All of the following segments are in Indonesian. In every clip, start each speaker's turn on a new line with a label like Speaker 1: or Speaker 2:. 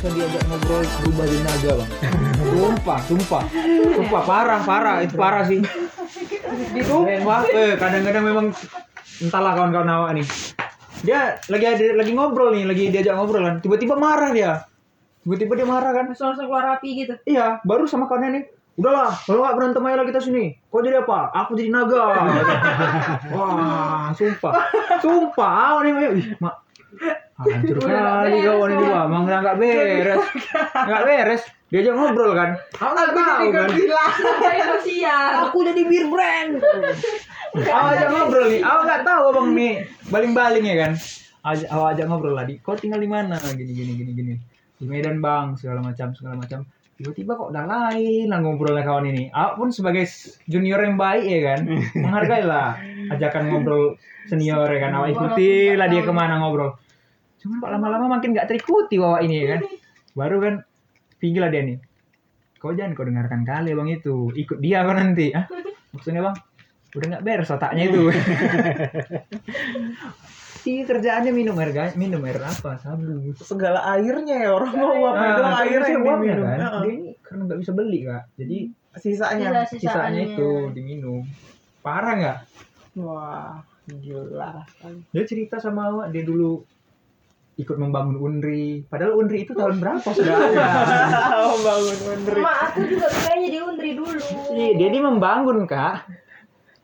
Speaker 1: kayak ngobrol berubah jadi naga bang sumpah sumpah sumpah parah parah itu parah sih sumpah eh kadang-kadang memang entahlah kawan-kawan awak nih dia lagi ada lagi ngobrol nih lagi diajak ngobrol kan tiba-tiba marah dia tiba-tiba dia marah kan
Speaker 2: langsung keluar api gitu
Speaker 1: Iya, baru sama kawannya nih. Udahlah, kalau nggak berantem aja lah kita sini. Kau jadi apa? Aku jadi naga. Wah, sumpah. Sumpah, awal nih. Mak. Ih, Mak. Hancur
Speaker 2: Udah nggak
Speaker 1: kali kau
Speaker 2: beres,
Speaker 1: ini dua. Emang nggak beres. Nggak beres. Dia aja ngobrol kan. Aku nggak tahu kan.
Speaker 2: kayak manusia
Speaker 1: Aku jadi bir brand. Awal ajak ngobrol nih. Awal nggak tahu abang nih. Baling-baling ya kan. Aj- Awal ajak ngobrol lah. Di, kau tinggal di mana? Gini, gini, gini, gini. Di Medan bang, segala macam, segala macam. Tiba-tiba kok udah lain lah ngobrolnya kawan ini. Awak pun sebagai s- junior yang baik ya kan. Menghargai lah ajakan ngobrol senior ya kan. Awak ikuti lah dia kemana ngobrol. Cuman kok lama-lama makin nggak terikuti wawa ini ya kan. Baru kan pinggir lah dia nih. Kau jangan kau dengarkan kali bang itu. Ikut dia kau nanti. Hah? Maksudnya bang, udah nggak beres otaknya itu. Hmm. Iya kerjaannya minum air ga- minum air apa sabu.
Speaker 3: segala airnya ya orang mau uap itu
Speaker 1: Nah,
Speaker 3: air
Speaker 1: akhirnya
Speaker 3: yang
Speaker 1: uapnya
Speaker 3: diminum
Speaker 1: kan.
Speaker 3: Heeh.
Speaker 1: Dia ini karena nggak bisa beli kak. Jadi
Speaker 3: Iya. sisanya
Speaker 1: Iya,
Speaker 2: Sisa-
Speaker 1: sisanya itu diminum. Parah nggak?
Speaker 3: wah gila rasanya
Speaker 1: Dia cerita sama awak dia dulu ikut membangun Unri. Padahal Unri itu tahun berapa sudah ada.
Speaker 3: Ah, bangun menteri
Speaker 2: Mak, aku juga kayaknya di Undri dulu.
Speaker 1: Iya, dia ini membangun kak.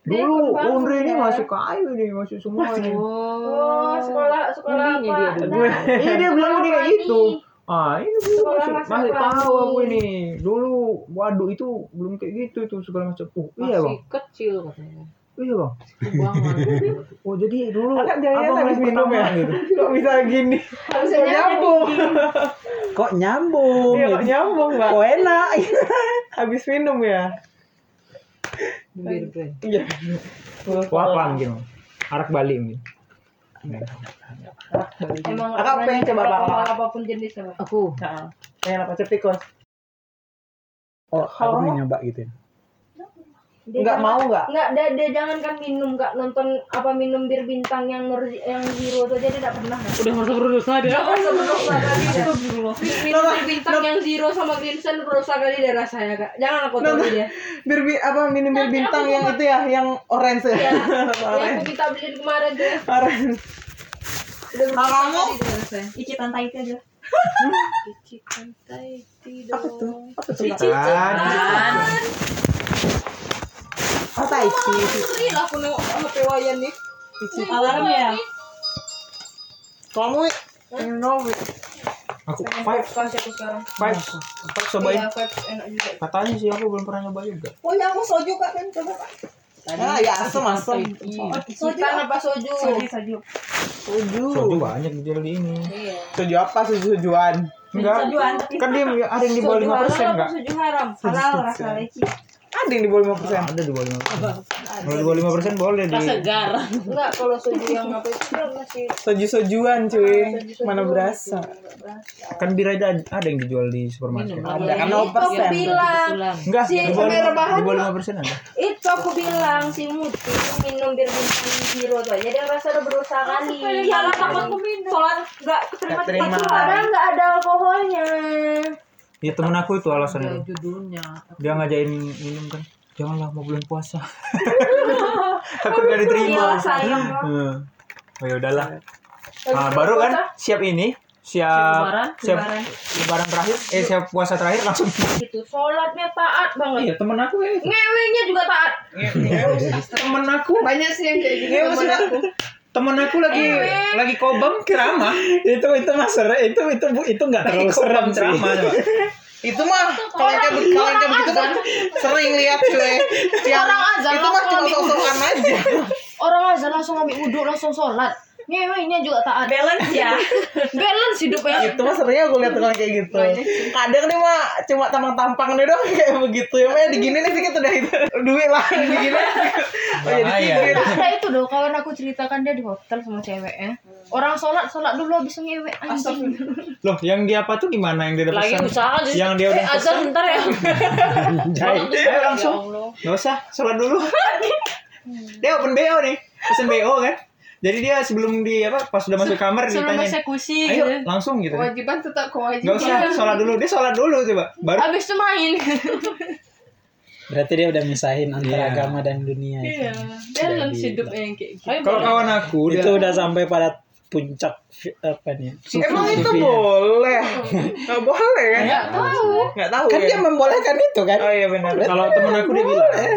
Speaker 2: Dia
Speaker 1: Dulu
Speaker 2: membangun,
Speaker 1: Unri ini
Speaker 2: ya.
Speaker 1: masih kayu nih, masih semua nih.
Speaker 2: Oh, sekolah sekolah
Speaker 4: Undrinya
Speaker 2: apa?
Speaker 4: dia dulu.
Speaker 2: Nah,
Speaker 1: Iya dia bilang dia kayak
Speaker 2: Petani.
Speaker 1: gitu. Ah ini dulu
Speaker 2: Sekolah
Speaker 1: masih,
Speaker 2: masa
Speaker 1: masih
Speaker 2: petani.
Speaker 1: tahu aku ini. Dulu waduh itu belum kayak gitu itu segala macam. Oh iya bang,
Speaker 4: Masih kecil katanya.
Speaker 1: iya bang.
Speaker 4: Buang lagi.
Speaker 1: Oh jadi dulu
Speaker 3: Anak jaya
Speaker 1: abang
Speaker 3: tadi
Speaker 1: yang
Speaker 3: minum
Speaker 1: pertama
Speaker 3: ya
Speaker 1: gitu.
Speaker 3: kok bisa gini
Speaker 2: Harusnya nyambung.
Speaker 3: kok nyambung iya, kok nyambung mbak kok enak habis minum ya
Speaker 4: Bibir brand.
Speaker 3: iya
Speaker 1: Wah apa mungkin? Bang? gitu. Arak Bali gitu. mungkin.
Speaker 2: Emang
Speaker 3: Kakak
Speaker 2: pernah
Speaker 3: pengen coba
Speaker 2: nyoba
Speaker 3: apa?
Speaker 2: apapun jenis apa?
Speaker 4: Aku
Speaker 3: Nah, pengen apa cepet tikus
Speaker 5: Oh,
Speaker 3: Kalau-
Speaker 5: aku pengen nyoba gitu. ya.
Speaker 2: Dia
Speaker 3: nggak
Speaker 2: jangan-
Speaker 3: mau nggak
Speaker 2: Nggak, dia, dia jangan kan minum, nggak nonton apa minum bir bintang yang nur, yang biru itu aja dia nggak pernah.
Speaker 4: udah masuk berusaha dia.
Speaker 6: Iya.
Speaker 2: Minum bir bintang yang zero sama Crimson berusaha kali dia rasanya kak. Jangan aku tahu dia.
Speaker 3: bir bi- apa minum bir bintang yang itu ya yang orange
Speaker 2: Iya.
Speaker 3: ya
Speaker 2: Yang aku minta beliin kemarin tuh.
Speaker 3: orange
Speaker 2: Udah berusaha
Speaker 3: Kamu?
Speaker 2: kali dia rasanya. Icitan tai itu aja. Icitan tai tidak.
Speaker 3: apa tuh apa tuh Mbak?
Speaker 1: Kan.
Speaker 2: Ah.
Speaker 3: oh taiki
Speaker 2: Seri lah aku nengok HP Wayan nih. Alarm
Speaker 4: ya?
Speaker 3: kamu pengen ngopi
Speaker 1: Aku
Speaker 2: Vibes
Speaker 1: vibes,
Speaker 2: kasih aku sekarang.
Speaker 1: vibes, vibes cobain.
Speaker 2: Iya, vibes enak juga.
Speaker 1: Katanya sih aku belum pernah nyoba juga.
Speaker 3: oh
Speaker 2: iya,
Speaker 3: ya aku soju kak kan coba Kak. ah ya asem asem
Speaker 2: Iya, Oh, Soju apa soju? Soju, soju.
Speaker 1: Soju
Speaker 3: soju
Speaker 1: banyak di jual di ini.
Speaker 2: Iya.
Speaker 3: soju apa soju sojuan
Speaker 1: Enggak. Kan dia ada yang di bawah
Speaker 2: Soju
Speaker 1: lima persen
Speaker 2: halal apa
Speaker 1: enggak?
Speaker 2: Soju haram. Halal rasa leci.
Speaker 3: ada yang di bawah lima
Speaker 2: Ah.
Speaker 3: persen
Speaker 1: Ada di bawah lima persen. Kalau di bawah lima persen boleh di.
Speaker 4: Segar.
Speaker 2: Enggak, kalau soju yang apa itu kan masih
Speaker 3: soju sojuan
Speaker 2: Ah,
Speaker 3: cuy
Speaker 2: Soju-sojuan
Speaker 3: mana berasa
Speaker 2: nggak berasa.
Speaker 1: Kan bir ada ada yang dijual di supermarket.
Speaker 4: Minum.
Speaker 3: ada kan
Speaker 2: Itu Iya,
Speaker 3: 0%
Speaker 2: aku
Speaker 3: persen
Speaker 2: bilang.
Speaker 4: Pulang.
Speaker 1: Enggak,
Speaker 2: Si
Speaker 1: di bawah
Speaker 2: Samira Bahan
Speaker 1: lima- di bawah lima persen ada.
Speaker 2: Itu aku bilang si Muti minum bir bintang biru tuh. Jadi yang rasa udah berusaha kali. Iya lah takut aku minum. Soalnya enggak keterima
Speaker 3: Nggak terima.
Speaker 2: Padahal enggak ada alkoholnya.
Speaker 1: Ya temen aku itu alasannya.
Speaker 4: Ada judulnya.
Speaker 1: dia ngajain minum kan janganlah mau bulan puasa takut gak diterima
Speaker 2: Iya, sayang.
Speaker 1: Hmm. oh ya udahlah
Speaker 2: Habis
Speaker 1: nah, baru kan
Speaker 2: puasa,
Speaker 1: siap ini
Speaker 4: Lebaran,
Speaker 1: siap siap
Speaker 2: lebaran.
Speaker 1: lebaran terakhir eh siap puasa terakhir langsung
Speaker 2: gitu sholatnya taat banget
Speaker 1: iya temen aku ya itu
Speaker 2: ngewenya juga taat
Speaker 1: temen aku
Speaker 2: banyak sih yang kayak
Speaker 3: Iya,
Speaker 2: gitu temen aku Eh,
Speaker 1: temen aku lagi lagi kobam ceramah
Speaker 5: itu itu mas serem itu itu bu itu
Speaker 2: Nah,
Speaker 5: nggak terlalu serem sih.
Speaker 1: coba
Speaker 5: Oh,
Speaker 3: itu mah kalau yang kayak kalau yang kayak begitu kan sering lihat cuy yang
Speaker 6: Orang azan
Speaker 3: itu mah
Speaker 6: langsung
Speaker 3: cuma
Speaker 6: ambil
Speaker 3: sok-sokan aja
Speaker 6: orang azan langsung ambil wudhu langsung sholat ngewenya juga tak ada
Speaker 2: balance ya
Speaker 6: balance hidupnya
Speaker 3: itu mah sering aku lihat orang kayak gitu kadang nih mah cuma tampang-tampang deh dong kayak begitu ya mah digini nih sedikit udah itu duit lah digini oh ya disindir
Speaker 6: nah itu dong kawan aku ceritakan dia di hotel sama cewek ya
Speaker 4: Hmm.
Speaker 6: orang sholat sholat dulu habis ngewe anjing
Speaker 1: loh yang dia apa tuh gimana yang dia udah
Speaker 4: Lagi
Speaker 1: pesan
Speaker 4: usaha jadi
Speaker 1: yang dia udah
Speaker 4: Eh, azan bentar ya.
Speaker 1: ayo langsung
Speaker 4: Allah.
Speaker 1: Gak usah, sholat dulu. dia open BO nih. Pesen BO kan? Jadi dia sebelum di apa pas udah masuk kamar
Speaker 4: Sebelum
Speaker 1: ditanyain,
Speaker 4: eksekusi
Speaker 1: ayo
Speaker 4: gitu.
Speaker 1: langsung gitu.
Speaker 6: Kewajiban tetap
Speaker 1: Gak
Speaker 6: kewajiban.
Speaker 1: usah sholat dulu, dia sholat dulu coba. Baru
Speaker 6: Habis itu main.
Speaker 5: Berarti dia udah misahin
Speaker 1: Iya.
Speaker 5: antara agama dan dunia. itu.
Speaker 4: Iya. Balance hidupnya yang kayak gitu.
Speaker 1: kalau kawan aku dia
Speaker 5: Itu udah sampai pada puncak fi- apa nih? sufi- ya?
Speaker 3: Emang itu
Speaker 5: sufinya.
Speaker 3: boleh? Gak boleh kan?
Speaker 6: Enggak tahu.
Speaker 3: Gak tahu
Speaker 5: Kan
Speaker 3: ya?
Speaker 5: dia membolehkan itu kan?
Speaker 3: Oh iya benar.
Speaker 1: kalau temen aku dia bilang eh,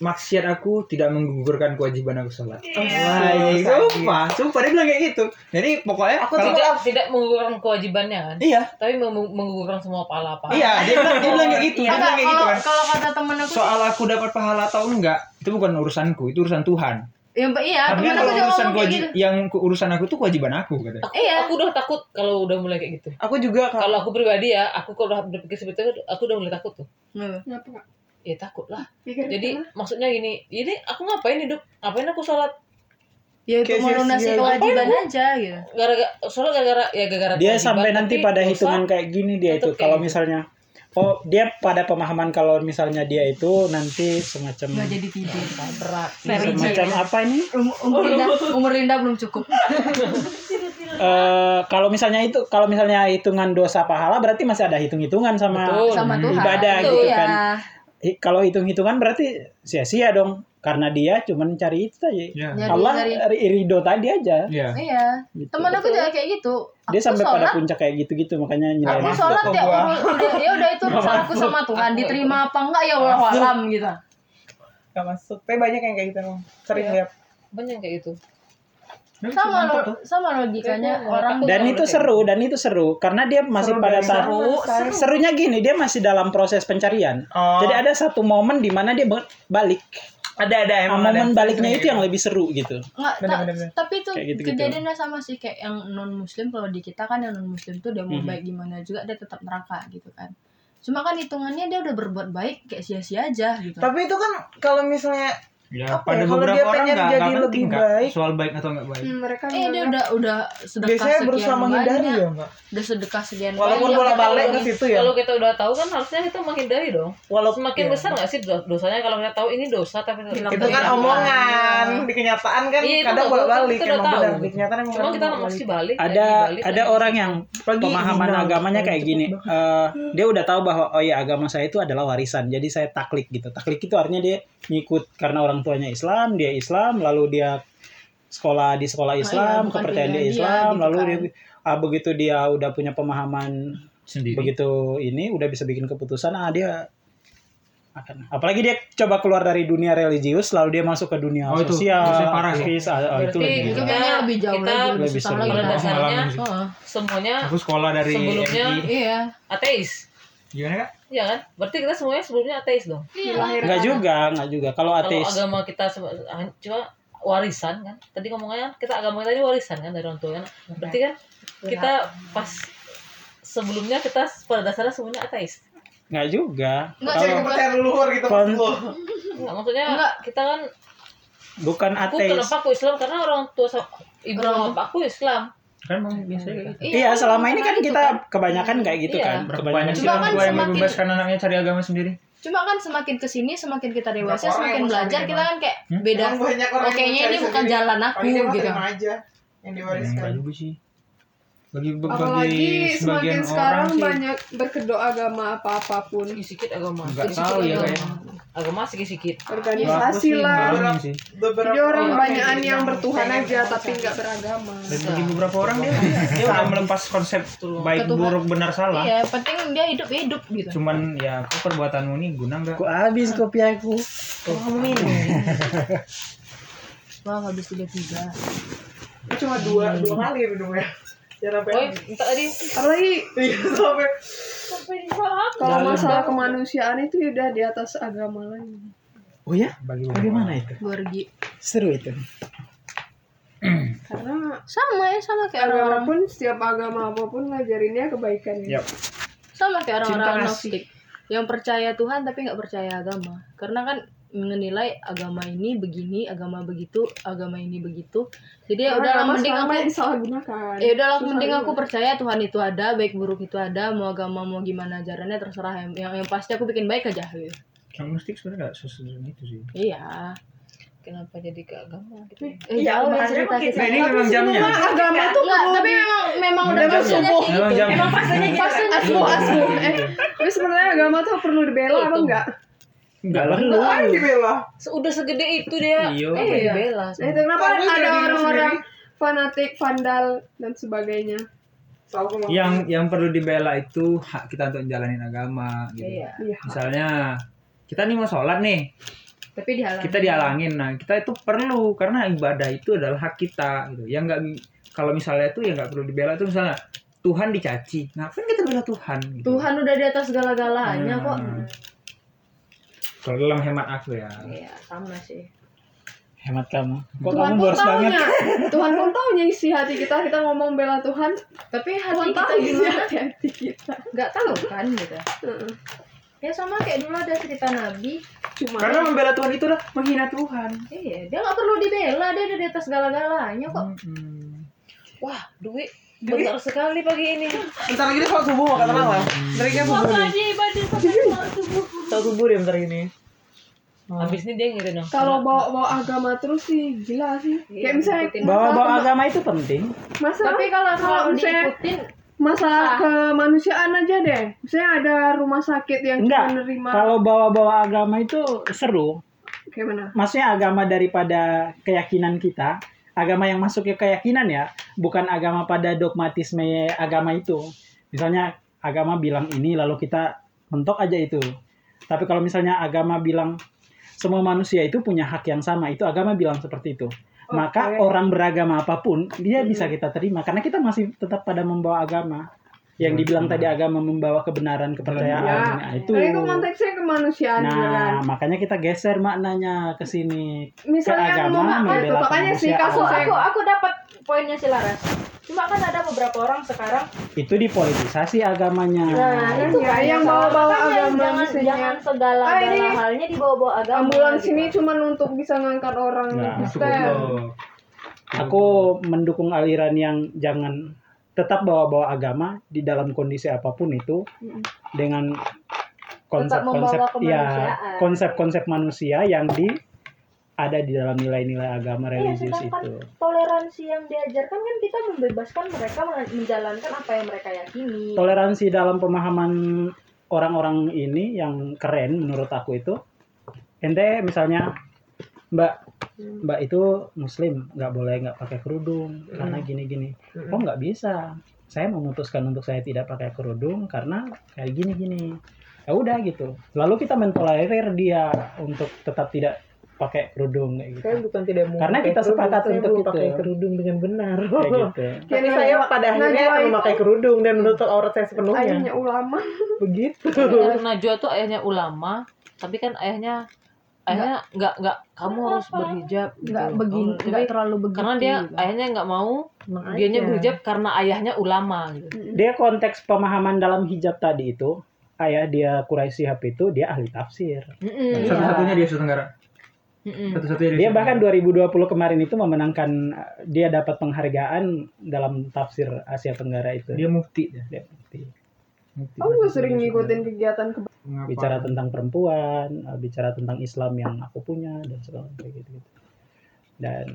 Speaker 1: maksiat aku tidak menggugurkan kewajiban aku sholat. Wah, iya, sumpah, sumpah dia bilang kayak gitu. Jadi pokoknya
Speaker 3: Aku
Speaker 1: kalau-
Speaker 3: tidak
Speaker 7: tidak menggugurkan kewajibannya kan
Speaker 1: iya,
Speaker 7: tapi meng- menggugurkan semua pahala-pahala
Speaker 1: iya dia bilang dia bilang kayak gitu, dia bilang
Speaker 6: Enggak,
Speaker 1: kayak gitu
Speaker 6: kalau
Speaker 1: kan.
Speaker 6: kalau kata temen aku sih-
Speaker 1: Soal aku dapat pahala atau enggak itu bukan urusanku, itu urusan Tuhan.
Speaker 6: Ya, Mbak, iya,
Speaker 1: Tapi kan
Speaker 6: temen aku
Speaker 1: kalau
Speaker 6: juga
Speaker 1: urusan
Speaker 6: ngomong kayak
Speaker 1: kewaji-
Speaker 6: gitu.
Speaker 1: yang ke- urusan aku tuh kewajiban aku katanya.
Speaker 7: aku,
Speaker 6: Iya.
Speaker 7: aku udah takut kalau udah mulai kayak gitu
Speaker 3: Aku juga kalau
Speaker 7: kalau aku pribadi ya aku kalau udah berpikir seperti itu aku udah mulai takut tuh
Speaker 6: Hmm.
Speaker 7: ya takut lah jadi maksudnya gini ini aku ngapain hidup ngapain aku sholat
Speaker 6: Ya itu
Speaker 3: Kayak
Speaker 6: melunasi
Speaker 3: sia-sia.
Speaker 6: kewajiban aja gitu.
Speaker 7: gara-gara sholat gara-gara ya gara-gara
Speaker 5: dia
Speaker 7: kewajiban,
Speaker 5: sampai nanti
Speaker 7: tapi
Speaker 5: pada
Speaker 7: dosa.
Speaker 5: hitungan kayak gini dia itu
Speaker 7: tetep kayak
Speaker 5: kalau
Speaker 7: gitu.
Speaker 5: misalnya oh dia pada pemahaman kalau misalnya dia itu nanti semacam
Speaker 6: Nggak jadi tidur.
Speaker 7: berat
Speaker 5: semacam apa ini
Speaker 6: Um- Umur Linda, umur Linda belum cukup.
Speaker 5: Eh, kalau misalnya itu kalau misalnya hitungan dosa pahala berarti masih ada hitung hitungan sama
Speaker 7: Betul.
Speaker 6: Sama Tuhan.
Speaker 5: Ibadah
Speaker 6: Itu
Speaker 5: gitu
Speaker 6: ya.
Speaker 5: kan. Hi- kalau hitung hitungan berarti sia sia dong karena dia cuman cari itu aja
Speaker 1: Iya.
Speaker 6: Nyari-
Speaker 5: Allah
Speaker 6: nyari-
Speaker 5: ri- ridho tadi aja
Speaker 1: Iya.
Speaker 6: Iya.
Speaker 5: gitu.
Speaker 6: Temen aku juga kayak gitu. Aku
Speaker 5: dia sampai pada
Speaker 6: sholat,
Speaker 5: puncak kayak gitu gitu makanya
Speaker 6: Aku
Speaker 5: nilai
Speaker 6: sholat
Speaker 1: Maksud
Speaker 6: ya,
Speaker 1: gua.
Speaker 6: urus- udah, ya udah itu urusanku sama Tuhan. Diterima apa enggak ya Allah alam gitu.
Speaker 3: gak masuk. Tapi banyak yang kayak gitu emang. Sering lihat.
Speaker 7: banyak kayak gitu
Speaker 6: Sama lo, sama logikanya
Speaker 7: Aku
Speaker 6: orang.
Speaker 5: dan
Speaker 7: udah mulai
Speaker 5: itu
Speaker 7: kayak
Speaker 5: seru dan itu seru karena dia masih
Speaker 3: Seru
Speaker 5: pada
Speaker 3: dari
Speaker 5: saat serunya gini dia masih dalam proses pencarian
Speaker 3: Oh.
Speaker 5: jadi ada satu momen di mana dia ba- balik
Speaker 3: Ada ada
Speaker 5: Nah,
Speaker 3: emang. ada.
Speaker 5: momen baliknya itu yang lebih seru gitu
Speaker 6: Nggak,
Speaker 3: Bener,
Speaker 6: ta-
Speaker 3: bener, bener.
Speaker 6: tapi itu
Speaker 5: Kayak gitu-gitu.
Speaker 6: kejadiannya sama sih kayak yang non muslim kalau di kita kan yang non muslim tuh dia mau
Speaker 5: Mhm.
Speaker 6: baik gimana juga dia tetap neraka gitu kan cuma kan hitungannya dia udah berbuat baik kayak sia-sia aja gitu
Speaker 3: Tapi itu kan kalau misalnya
Speaker 1: Ya,
Speaker 3: Apa
Speaker 1: pada
Speaker 3: ya, kalau
Speaker 1: beberapa
Speaker 3: dia
Speaker 1: orang
Speaker 3: pengen
Speaker 1: nggak
Speaker 3: jadi
Speaker 1: nggak penting
Speaker 3: lebih
Speaker 1: nggak
Speaker 3: baik.
Speaker 1: soal baik atau nggak baik.
Speaker 8: mereka
Speaker 5: kan
Speaker 6: eh dia udah udah sedekah
Speaker 3: biasanya berusaha
Speaker 6: sekian
Speaker 3: menghindari
Speaker 6: banyak
Speaker 3: ya mbak.
Speaker 6: udah sedekah sekian
Speaker 3: Walaupun
Speaker 6: banyak.
Speaker 3: bola balik ke situ ya.
Speaker 7: kalau kita udah tahu kan harusnya kita menghindari dong
Speaker 3: Walaupun
Speaker 7: semakin
Speaker 3: iya.
Speaker 7: besar nggak sih do- dosanya kalau kita tahu ini dosa tapi
Speaker 3: itu kan omongan di kenyataan kan
Speaker 7: Iya, itu
Speaker 3: kadang
Speaker 7: nggak
Speaker 3: bolak balik
Speaker 7: tahu, kita
Speaker 3: emang
Speaker 7: udah
Speaker 3: benar
Speaker 7: tahu.
Speaker 3: di kenyataan emang
Speaker 7: cuma
Speaker 3: kadang
Speaker 7: kita
Speaker 3: bolak-balik.
Speaker 7: masih balik
Speaker 5: ada
Speaker 7: balik,
Speaker 5: ada
Speaker 7: lagi.
Speaker 5: orang yang
Speaker 3: Pagi
Speaker 5: pemahaman
Speaker 3: ini,
Speaker 5: agamanya
Speaker 3: nah,
Speaker 5: kayak
Speaker 3: cepet
Speaker 5: gini eh, dia udah tahu bahwa oh ya agama saya itu adalah warisan jadi saya taklik gitu taklik itu artinya dia ngikut karena orang tuanya Islam dia Islam lalu dia sekolah di sekolah
Speaker 6: iya,
Speaker 5: Islam
Speaker 6: bukan
Speaker 5: kepercayaan dia
Speaker 6: pilihan dia,
Speaker 5: Islam
Speaker 6: gitu
Speaker 5: lalu
Speaker 6: kan.
Speaker 5: dia ah, begitu dia udah punya pemahaman
Speaker 1: Sendiri.
Speaker 5: begitu ini udah bisa bikin keputusan ah dia akan apalagi dia coba keluar dari dunia religius lalu dia masuk ke dunia
Speaker 1: Oh, itu.
Speaker 5: sosial
Speaker 1: Biasanya parah, ya?
Speaker 5: aktivis, ah, ah, itu
Speaker 7: Berarti
Speaker 5: lebih
Speaker 6: itu
Speaker 7: Kita-
Speaker 6: kayaknya lebih jauh
Speaker 7: kita Iya.
Speaker 6: lagi lebih
Speaker 5: lebih
Speaker 6: susah
Speaker 5: seru.
Speaker 6: lagi
Speaker 7: Kalau
Speaker 1: Aku
Speaker 7: dasarnya-
Speaker 1: ngalamin sih.
Speaker 6: Heeh.
Speaker 7: semuanya
Speaker 1: aku sekolah dari
Speaker 7: Sebelumnya,
Speaker 1: MI.
Speaker 6: iya
Speaker 7: ateis
Speaker 1: gimana kak?
Speaker 7: Iya kan? Berarti kita semuanya sebelumnya ateis dong.
Speaker 5: Enggak juga, enggak juga. Kalau
Speaker 7: Kalau
Speaker 5: ateis
Speaker 7: agama kita seba- han- cuma warisan kan. Tadi ngomongnya kita agama kita ini warisan kan dari orang tua kan. Berarti kan kita pas sebelumnya kita pada dasarnya semuanya ateis.
Speaker 5: enggak juga.
Speaker 6: Enggak,
Speaker 5: Kalau-
Speaker 3: Jadi kepercayaan leluhur gitu
Speaker 5: Kon-
Speaker 3: maksud lu.
Speaker 7: Enggak, maksudnya
Speaker 6: Enggak.
Speaker 7: kita kan
Speaker 5: bukan
Speaker 7: aku
Speaker 5: ateis.
Speaker 7: kenapa aku Islam karena orang tua sa- ibu sama bapak aku Islam.
Speaker 1: kan memang biasanya kayak gitu
Speaker 5: Iya, selama ini kan
Speaker 6: ya, karena itu
Speaker 5: kita kebanyakan kayak gitu
Speaker 7: Iya.
Speaker 5: kan.
Speaker 1: berapa
Speaker 5: Kebanyakan
Speaker 1: banyak sih
Speaker 6: Cuma
Speaker 1: orang Iya,
Speaker 6: kan
Speaker 1: tua yang
Speaker 6: semakin-
Speaker 1: membebaskan anaknya cari agama sendiri
Speaker 6: cuma kan semakin kesini semakin kita dewasa
Speaker 3: Berapa orang
Speaker 6: semakin
Speaker 3: yang
Speaker 6: belajar
Speaker 3: masuk
Speaker 6: kita kan kayak beda Oh,
Speaker 3: Emang banyak orang yang
Speaker 6: kayaknya ini
Speaker 3: percaya
Speaker 6: bukan
Speaker 3: sendiri.
Speaker 6: jalan aku
Speaker 3: Paling dia mah
Speaker 6: gitu
Speaker 3: terima aja yang
Speaker 1: Hmm,
Speaker 3: diwariskan.
Speaker 1: enggak juga sih bagi bagi
Speaker 8: apalagi
Speaker 1: sebagian
Speaker 8: semakin
Speaker 1: orang
Speaker 8: sekarang
Speaker 1: sih
Speaker 8: banyak berkedok agama apa apapun
Speaker 7: Ih, Sikit agama.
Speaker 1: nggak
Speaker 7: Sikit
Speaker 1: tahu ya
Speaker 7: agama.
Speaker 1: kayak
Speaker 7: Agama sikit-sikit.
Speaker 8: organisasi lah
Speaker 1: Orang sih
Speaker 8: jadi
Speaker 3: Beberapa
Speaker 8: orang banyakan yang bertuhan aja tapi nggak beragama
Speaker 1: dan bagi beberapa orang dia dia udah melepas konsep baik
Speaker 6: Ketuhan.
Speaker 1: buruk benar salah
Speaker 6: Iya, penting dia hidup hidup gitu.
Speaker 1: cuman ya aku perbuatanmu ini guna nggak
Speaker 5: Aku habis kopi aku.
Speaker 6: Wah, habis tiga tiga.
Speaker 3: Gua cuma dua dua ya. kali minumnya. Jangan sampai
Speaker 7: Oi, minta tadi
Speaker 8: apalagi
Speaker 3: iya sampai
Speaker 8: kalau masalah kemanusiaan itu ya udah di atas agama lain
Speaker 5: Oh ya?
Speaker 1: bagi
Speaker 5: Bagaimana itu?
Speaker 6: Gorgi.
Speaker 5: Seru itu.
Speaker 8: karena
Speaker 6: Sama ya, sama kayak
Speaker 8: agama
Speaker 6: orang-orang
Speaker 8: pun setiap agama apapun ngajarinnya kebaikan ya
Speaker 1: Yap.
Speaker 6: sama kayak
Speaker 3: Cinta
Speaker 6: orang-orang
Speaker 3: kasih.
Speaker 6: agnostik yang percaya Tuhan tapi nggak percaya agama. Karena kan menilai agama ini begini, agama begitu, agama ini begitu. Jadi ya
Speaker 8: Karena
Speaker 6: udah lah,
Speaker 8: agama
Speaker 6: mending
Speaker 8: selama
Speaker 6: aku
Speaker 8: ini disalahgunakan
Speaker 6: ya udah lah,
Speaker 8: Susah
Speaker 6: mending aku
Speaker 8: juga.
Speaker 6: percaya Tuhan itu ada, baik buruk itu ada, mau agama mau gimana ajarannya terserah. Yang yang pasti aku bikin baik aja gitu. Nah,
Speaker 1: agnostik sebenarnya nggak sesulit itu sih
Speaker 6: Iya. kenapa jadi ke agama gitu ya.
Speaker 8: Iya,
Speaker 6: jauh
Speaker 8: makanya
Speaker 6: cerita
Speaker 8: begitu.
Speaker 6: kita.
Speaker 1: Nah, ini memang jamnya.
Speaker 8: agama tuh
Speaker 6: Enggak,
Speaker 8: perlu
Speaker 6: tapi
Speaker 8: di-
Speaker 6: memang memang udah
Speaker 1: Memang
Speaker 6: maksudnya
Speaker 1: subuh.
Speaker 6: kayak
Speaker 1: Memang
Speaker 6: gitu.
Speaker 1: jamnya. Memang
Speaker 6: fasenya gitu.
Speaker 8: asbu asbu eh tapi sebenarnya agama tuh perlu dibela apa enggak
Speaker 5: Enggak lah lu.
Speaker 3: Apa yang dibela?
Speaker 7: Udah segede itu dia.
Speaker 5: Iya.
Speaker 7: Eh,
Speaker 6: Iya.
Speaker 7: bela.
Speaker 8: nah itu kenapa
Speaker 3: Tapi
Speaker 8: ada
Speaker 3: jadi
Speaker 8: orang-orang fanatik vandal dan sebagainya
Speaker 3: Tahu gua mau-
Speaker 1: Yang yang perlu dibela itu hak kita untuk jalanin agama gitu.
Speaker 7: Iya.
Speaker 8: iya
Speaker 1: Misalnya kita nih mau sholat nih,
Speaker 6: Tapi dihalangi.
Speaker 1: kita dialangin. Nah, kita itu perlu karena ibadah itu adalah hak kita gitu. Yang nggak kalau misalnya itu ya nggak perlu dibela itu misalnya Tuhan dicaci. Ngapain kita bela Tuhan gitu.
Speaker 6: Tuhan udah di atas segala-galanya kok.
Speaker 1: Hmm. Kalau dalam hemat aku ya.
Speaker 6: Iya, sama sih.
Speaker 5: Hemat kamu. Kok
Speaker 8: Tuhan
Speaker 5: kamu
Speaker 8: pun
Speaker 5: boros banget?
Speaker 8: taunya Tuhan pun taunya isi hati kita kita ngomong bela Tuhan
Speaker 6: Tapi hati
Speaker 8: Tuhan
Speaker 6: kita
Speaker 8: tahu isi
Speaker 6: gimana?
Speaker 8: hati, hati kita
Speaker 6: Nggak tahu kan gitu.
Speaker 8: Heeh.
Speaker 6: Ya sama kayak dulu ada cerita Nabi.
Speaker 8: cuma
Speaker 1: Karena
Speaker 3: Hmm.
Speaker 1: membela Tuhan itu adalah menghina Tuhan.
Speaker 6: Iya, dia nggak perlu dibela, dia udah di atas segala-galanya kok.
Speaker 7: Wah, duit besar sekali pagi ini.
Speaker 3: Bentar lagi dia sholat subuh mau kata malam. Bentar lagi dia subuh nih. Sholat subuh dia bentar ini.
Speaker 1: Hmm.
Speaker 7: Habis ini dia ngirim dong.
Speaker 8: kalau bawa bawa agama terus sih gila sih
Speaker 6: Iya,
Speaker 8: kayak misalnya
Speaker 6: ngikutin.
Speaker 5: Bawa-bawa agama itu penting.
Speaker 8: masalah
Speaker 6: Tapi kalau
Speaker 8: Kalau
Speaker 6: kalau
Speaker 8: misalnya-
Speaker 6: diikutin,
Speaker 8: masalah kemanusiaan aja deh misalnya ada rumah sakit yang
Speaker 5: Enggak.
Speaker 8: cuma nerima
Speaker 5: Kalau bawa-bawa agama itu seru.
Speaker 8: kayak mana
Speaker 5: Maksudnya agama daripada keyakinan kita, agama yang masuk ke keyakinan ya, bukan agama pada dogmatisme agama itu. Misalnya agama bilang ini lalu kita mentok aja itu. Tapi kalau misalnya agama bilang semua manusia itu punya hak yang sama, itu agama bilang seperti itu. Maka
Speaker 8: Oke.
Speaker 5: orang beragama apapun dia bisa kita terima karena kita masih tetap pada membawa agama. Yang dibilang tadi agama membawa kebenaran, kepercayaan.
Speaker 8: Ya.
Speaker 5: Nah, itu.
Speaker 8: Tapi itu konteksnya kemanusiaan juga kan.
Speaker 5: Nah, makanya kita geser maknanya ke sini. ke
Speaker 8: Misalnya
Speaker 5: agama
Speaker 8: yang mau nggak itu,
Speaker 5: membela
Speaker 8: makanya sih
Speaker 5: kemanusiaan.
Speaker 8: kasus
Speaker 2: aku
Speaker 8: saya
Speaker 2: aku aku dapat poinnya si Laras cuma kan ada beberapa orang sekarang
Speaker 6: Kan?
Speaker 5: Itu dipolitisasi agamanya.
Speaker 2: nah
Speaker 5: iya,
Speaker 8: kan
Speaker 2: itu
Speaker 8: ya,
Speaker 2: kan
Speaker 8: yang
Speaker 2: salah.
Speaker 8: bawa-bawa
Speaker 2: Makanya
Speaker 8: agama
Speaker 2: jangan
Speaker 8: misalnya.
Speaker 2: jangan Iya, segala
Speaker 8: Ah, ini
Speaker 2: gala halnya dibawa-bawa agama
Speaker 8: ambulans
Speaker 2: gitu.
Speaker 8: ini cuma untuk bisa ngangkat orang
Speaker 5: Nah,
Speaker 8: di
Speaker 1: Masuk
Speaker 8: stem.
Speaker 1: Allah.
Speaker 5: Aku mendukung aliran yang jangan tetap bawa-bawa agama di dalam kondisi apapun itu
Speaker 8: Mm-mm.
Speaker 5: dengan
Speaker 2: membawa
Speaker 5: konsep-konsep ya
Speaker 2: kemanusiaan.
Speaker 5: konsep-konsep manusia yang di ada di dalam nilai-nilai agama
Speaker 2: Iya,
Speaker 5: religius
Speaker 2: sedangkan
Speaker 5: itu.
Speaker 2: toleransi yang diajarkan kan kita membebaskan mereka men- menjalankan apa yang mereka yakini.
Speaker 5: toleransi dalam pemahaman orang-orang ini yang keren menurut aku itu ente misalnya mbak mbak itu muslim nggak boleh nggak pakai kerudung karena gini-gini oh nggak bisa saya memutuskan untuk saya tidak pakai kerudung karena kayak gini-gini ya udah gitu lalu kita mentolerir dia untuk tetap tidak pakai kerudung kayak gitu
Speaker 3: Saya bukan tidak mau
Speaker 5: Karena
Speaker 3: pakai
Speaker 5: kita
Speaker 3: kerudung,
Speaker 5: sepakat
Speaker 3: saya
Speaker 5: untuk
Speaker 3: mau
Speaker 5: itu.
Speaker 3: pakai kerudung dengan benar.
Speaker 5: kayak gitu
Speaker 3: Tapi
Speaker 8: Kayak
Speaker 3: saya
Speaker 8: najwa-
Speaker 3: pada akhirnya
Speaker 8: najwa
Speaker 3: akan
Speaker 8: itu
Speaker 3: memakai kerudung dan menutup aurat saya
Speaker 8: Ayahnya
Speaker 5: Iya.
Speaker 3: sepenuhnya.
Speaker 8: Nah, ulama.
Speaker 3: Begitu.
Speaker 7: Yang Najwa tuh ayahnya ulama, tapi kan ayahnya ayahnya nggak nggak kamu harus berhijab gitu.
Speaker 6: nggak begini,
Speaker 7: Oh, tapi
Speaker 6: nggak terlalu begitu.
Speaker 7: karena dia
Speaker 6: gitu.
Speaker 7: ayahnya nggak mau,
Speaker 3: Makanya.
Speaker 7: dianya berhijab karena ayahnya ulama gitu.
Speaker 5: dia konteks pemahaman dalam hijab tadi itu ayah dia Quraisy Shihab itu dia ahli tafsir
Speaker 7: Mm-mm.
Speaker 8: Iya.
Speaker 1: Satu-satunya di Asia Tenggara.
Speaker 7: Mm-mm.
Speaker 1: Satu-satunya di
Speaker 5: dia
Speaker 1: Asia
Speaker 5: bahkan 2020 kemarin itu memenangkan eh, dia dapat penghargaan dalam tafsir Asia Tenggara itu
Speaker 1: Tenggara. dia mufti dia.
Speaker 5: Dia mufti.
Speaker 1: Mufti.
Speaker 8: Aku juga sering ngikutin kegiatan ke
Speaker 1: Ngapa?
Speaker 5: bicara tentang perempuan eh, bicara tentang Islam yang aku punya dan segala macam kayak gitu, gitu dan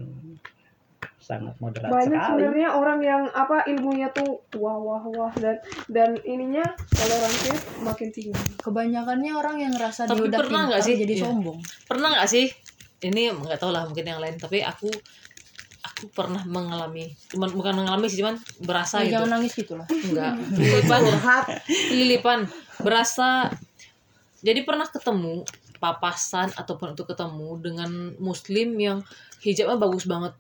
Speaker 5: sangat moderat
Speaker 8: banyak
Speaker 5: sekali
Speaker 8: sebenarnya orang yang apa ilmunya tuh wah wah wah dan dan ininya toleransinya makin tinggi.
Speaker 6: kebanyakannya orang yang ngerasa
Speaker 7: Tapi
Speaker 6: dia udah
Speaker 7: pernah
Speaker 6: pintar
Speaker 7: nggak sih?
Speaker 6: jadi
Speaker 7: Iya.
Speaker 6: sombong.
Speaker 7: pernah nggak sih ini nggak tahu lah mungkin yang lain tapi aku aku pernah mengalami cuman bukan mengalami sih cuman berasa
Speaker 6: Ya,
Speaker 7: gitu
Speaker 6: jangan nangis gitu lah.
Speaker 7: enggak lilipan lilipan berasa jadi pernah ketemu papasan ataupun untuk ketemu dengan muslim yang hijabnya bagus banget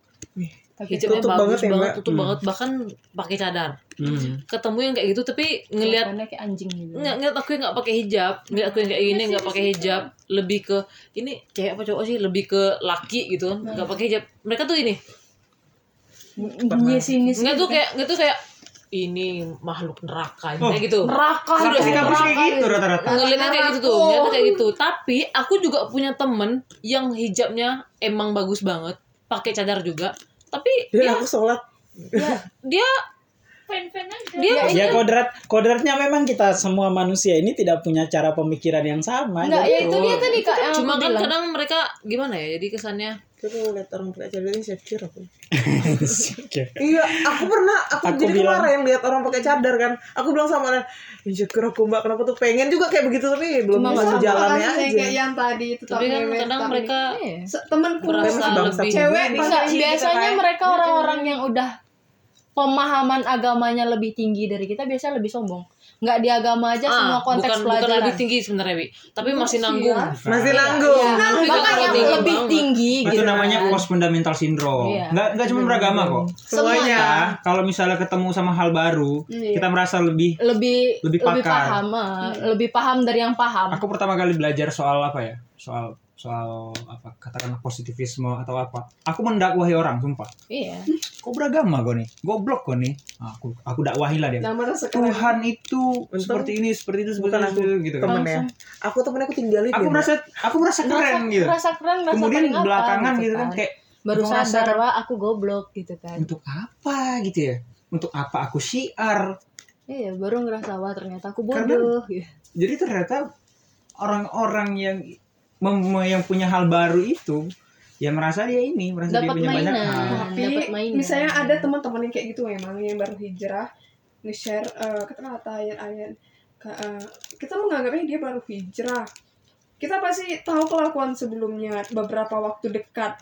Speaker 7: hijabnya
Speaker 3: tutup
Speaker 7: bagus
Speaker 3: banget ya,
Speaker 7: banget,
Speaker 3: Mbak?
Speaker 7: tutup
Speaker 5: Hmm.
Speaker 7: banget bahkan pakai cadar
Speaker 5: Hmm.
Speaker 7: ketemu yang kayak gitu tapi ngelihat
Speaker 6: Kelihatannya kayak anjing gitu.
Speaker 7: nggak ngeliat aku yang nggak pakai hijab ngeliat aku yang kayak
Speaker 3: Iya
Speaker 7: gini nggak pakai hijab lebih ke ini cewek apa cowok sih lebih ke laki gitu
Speaker 3: Nah.
Speaker 7: kan nggak pakai hijab mereka tuh ini
Speaker 6: Nyis nyis.
Speaker 7: nggak tuh kayak nggak tuh kayak ini makhluk neraka kayak gitu
Speaker 6: neraka.
Speaker 7: Sudah,
Speaker 6: gitu.
Speaker 7: kampus kayak
Speaker 3: gitu rata-rata.
Speaker 7: ngeliatnya kayak gitu tuh ngeliatnya kayak gitu tapi aku juga punya temen yang hijabnya emang bagus banget pakai cadar juga tapi
Speaker 3: Dan
Speaker 7: dia
Speaker 3: aku sholat.
Speaker 7: dia dia
Speaker 5: Ya kodrat kodratnya memang kita semua manusia ini tidak punya cara pemikiran yang sama.
Speaker 6: Enggak,
Speaker 5: gitu.
Speaker 6: ya itu dia tadi kak yang
Speaker 7: cuma
Speaker 6: aku
Speaker 7: kan
Speaker 6: bilang.
Speaker 7: kadang mereka gimana ya jadi kesannya
Speaker 3: Tapi kalau lihat orang pakai cadar insecure aku.
Speaker 5: Oke.
Speaker 3: Iya, aku pernah, aku,
Speaker 5: Aku
Speaker 3: jadi
Speaker 5: bilang-
Speaker 3: kemarin lihat orang pakai cadar kan. Aku bilang sama orang, insecure aku mbak, kenapa tuh pengen juga kayak begitu tapi belum ya."
Speaker 7: Cuma
Speaker 3: bisa
Speaker 8: Iya,
Speaker 7: nggak
Speaker 3: jalannya
Speaker 9: Makanya
Speaker 3: aja.
Speaker 9: kayak
Speaker 8: "Ya,
Speaker 9: yang tadi itu
Speaker 7: Tapi kan kadang mereka
Speaker 6: Iya,
Speaker 9: temanku
Speaker 7: merasa
Speaker 3: masih bangsa
Speaker 7: lebih
Speaker 9: cewek
Speaker 6: Enggak,
Speaker 9: dikunci gitu
Speaker 6: biasanya
Speaker 7: ya.
Speaker 9: kan.
Speaker 6: mereka orang-orang yang udah pemahaman agamanya lebih tinggi dari kita biasanya lebih sombong. Enggak di agama aja iya, semua
Speaker 7: ah,
Speaker 6: konteks
Speaker 7: bukan, bukan
Speaker 6: pelajaran.
Speaker 7: lebih tinggi sebenarnya, Wi. Tapi masih nanggung.
Speaker 3: Masih nanggung.
Speaker 6: Iya,
Speaker 7: Nanggung
Speaker 6: makanya
Speaker 7: banget.
Speaker 6: lebih tinggi
Speaker 1: itu
Speaker 6: gitu.
Speaker 1: namanya post fundamental syndrome
Speaker 6: Iya.
Speaker 1: nggak nggak cuma beragama kok
Speaker 9: semuanya
Speaker 1: kita kalau misalnya ketemu sama hal baru
Speaker 6: Iya.
Speaker 1: kita merasa lebih
Speaker 6: lebih
Speaker 1: Lebih
Speaker 6: lebih,
Speaker 1: pakar.
Speaker 6: paham, eh, lebih paham dari yang paham.
Speaker 1: aku pertama kali belajar soal apa ya soal soal apa katakanlah positivisme atau apa aku mendakwahi orang sumpah
Speaker 6: Iya.
Speaker 1: kok beragama kau nih goblok kau nih aku aku dakwahi lah dia
Speaker 9: nama sekarang
Speaker 1: Tuhan itu seperti ini seperti itu seperti
Speaker 3: Bukan
Speaker 1: itu gitu kan
Speaker 3: Temennya. ya. Aku temennya aku tinggalin.
Speaker 1: aku
Speaker 3: ya, Mbak.
Speaker 1: merasa aku merasa keren gitu
Speaker 6: Rasa keren, rasa
Speaker 1: kemudian
Speaker 6: paling apa,
Speaker 1: belakangan gitu kan kayak
Speaker 6: baru
Speaker 1: aku merasa
Speaker 6: sadar wah aku goblok gitu kan.
Speaker 1: untuk apa gitu ya untuk apa aku syiar
Speaker 6: Iya, baru ngerasa wah ternyata aku
Speaker 1: Karena-
Speaker 6: bodoh. gitu.
Speaker 1: jadi ternyata orang-orang yang mem- yang punya hal baru itu ya merasa dia ini merasa dia
Speaker 6: Dapat
Speaker 1: punya banyak hal
Speaker 6: mainan. Nah,
Speaker 8: tapi
Speaker 6: dapat mainan.
Speaker 8: misalnya ada teman-teman yang kayak gitu memang yang baru hijrah nge-share eh, katakanlah kata ayat-ayat Ka- eh, kita menganggapnya dia baru hijrah kita pasti tahu kelakuan sebelumnya beberapa waktu dekat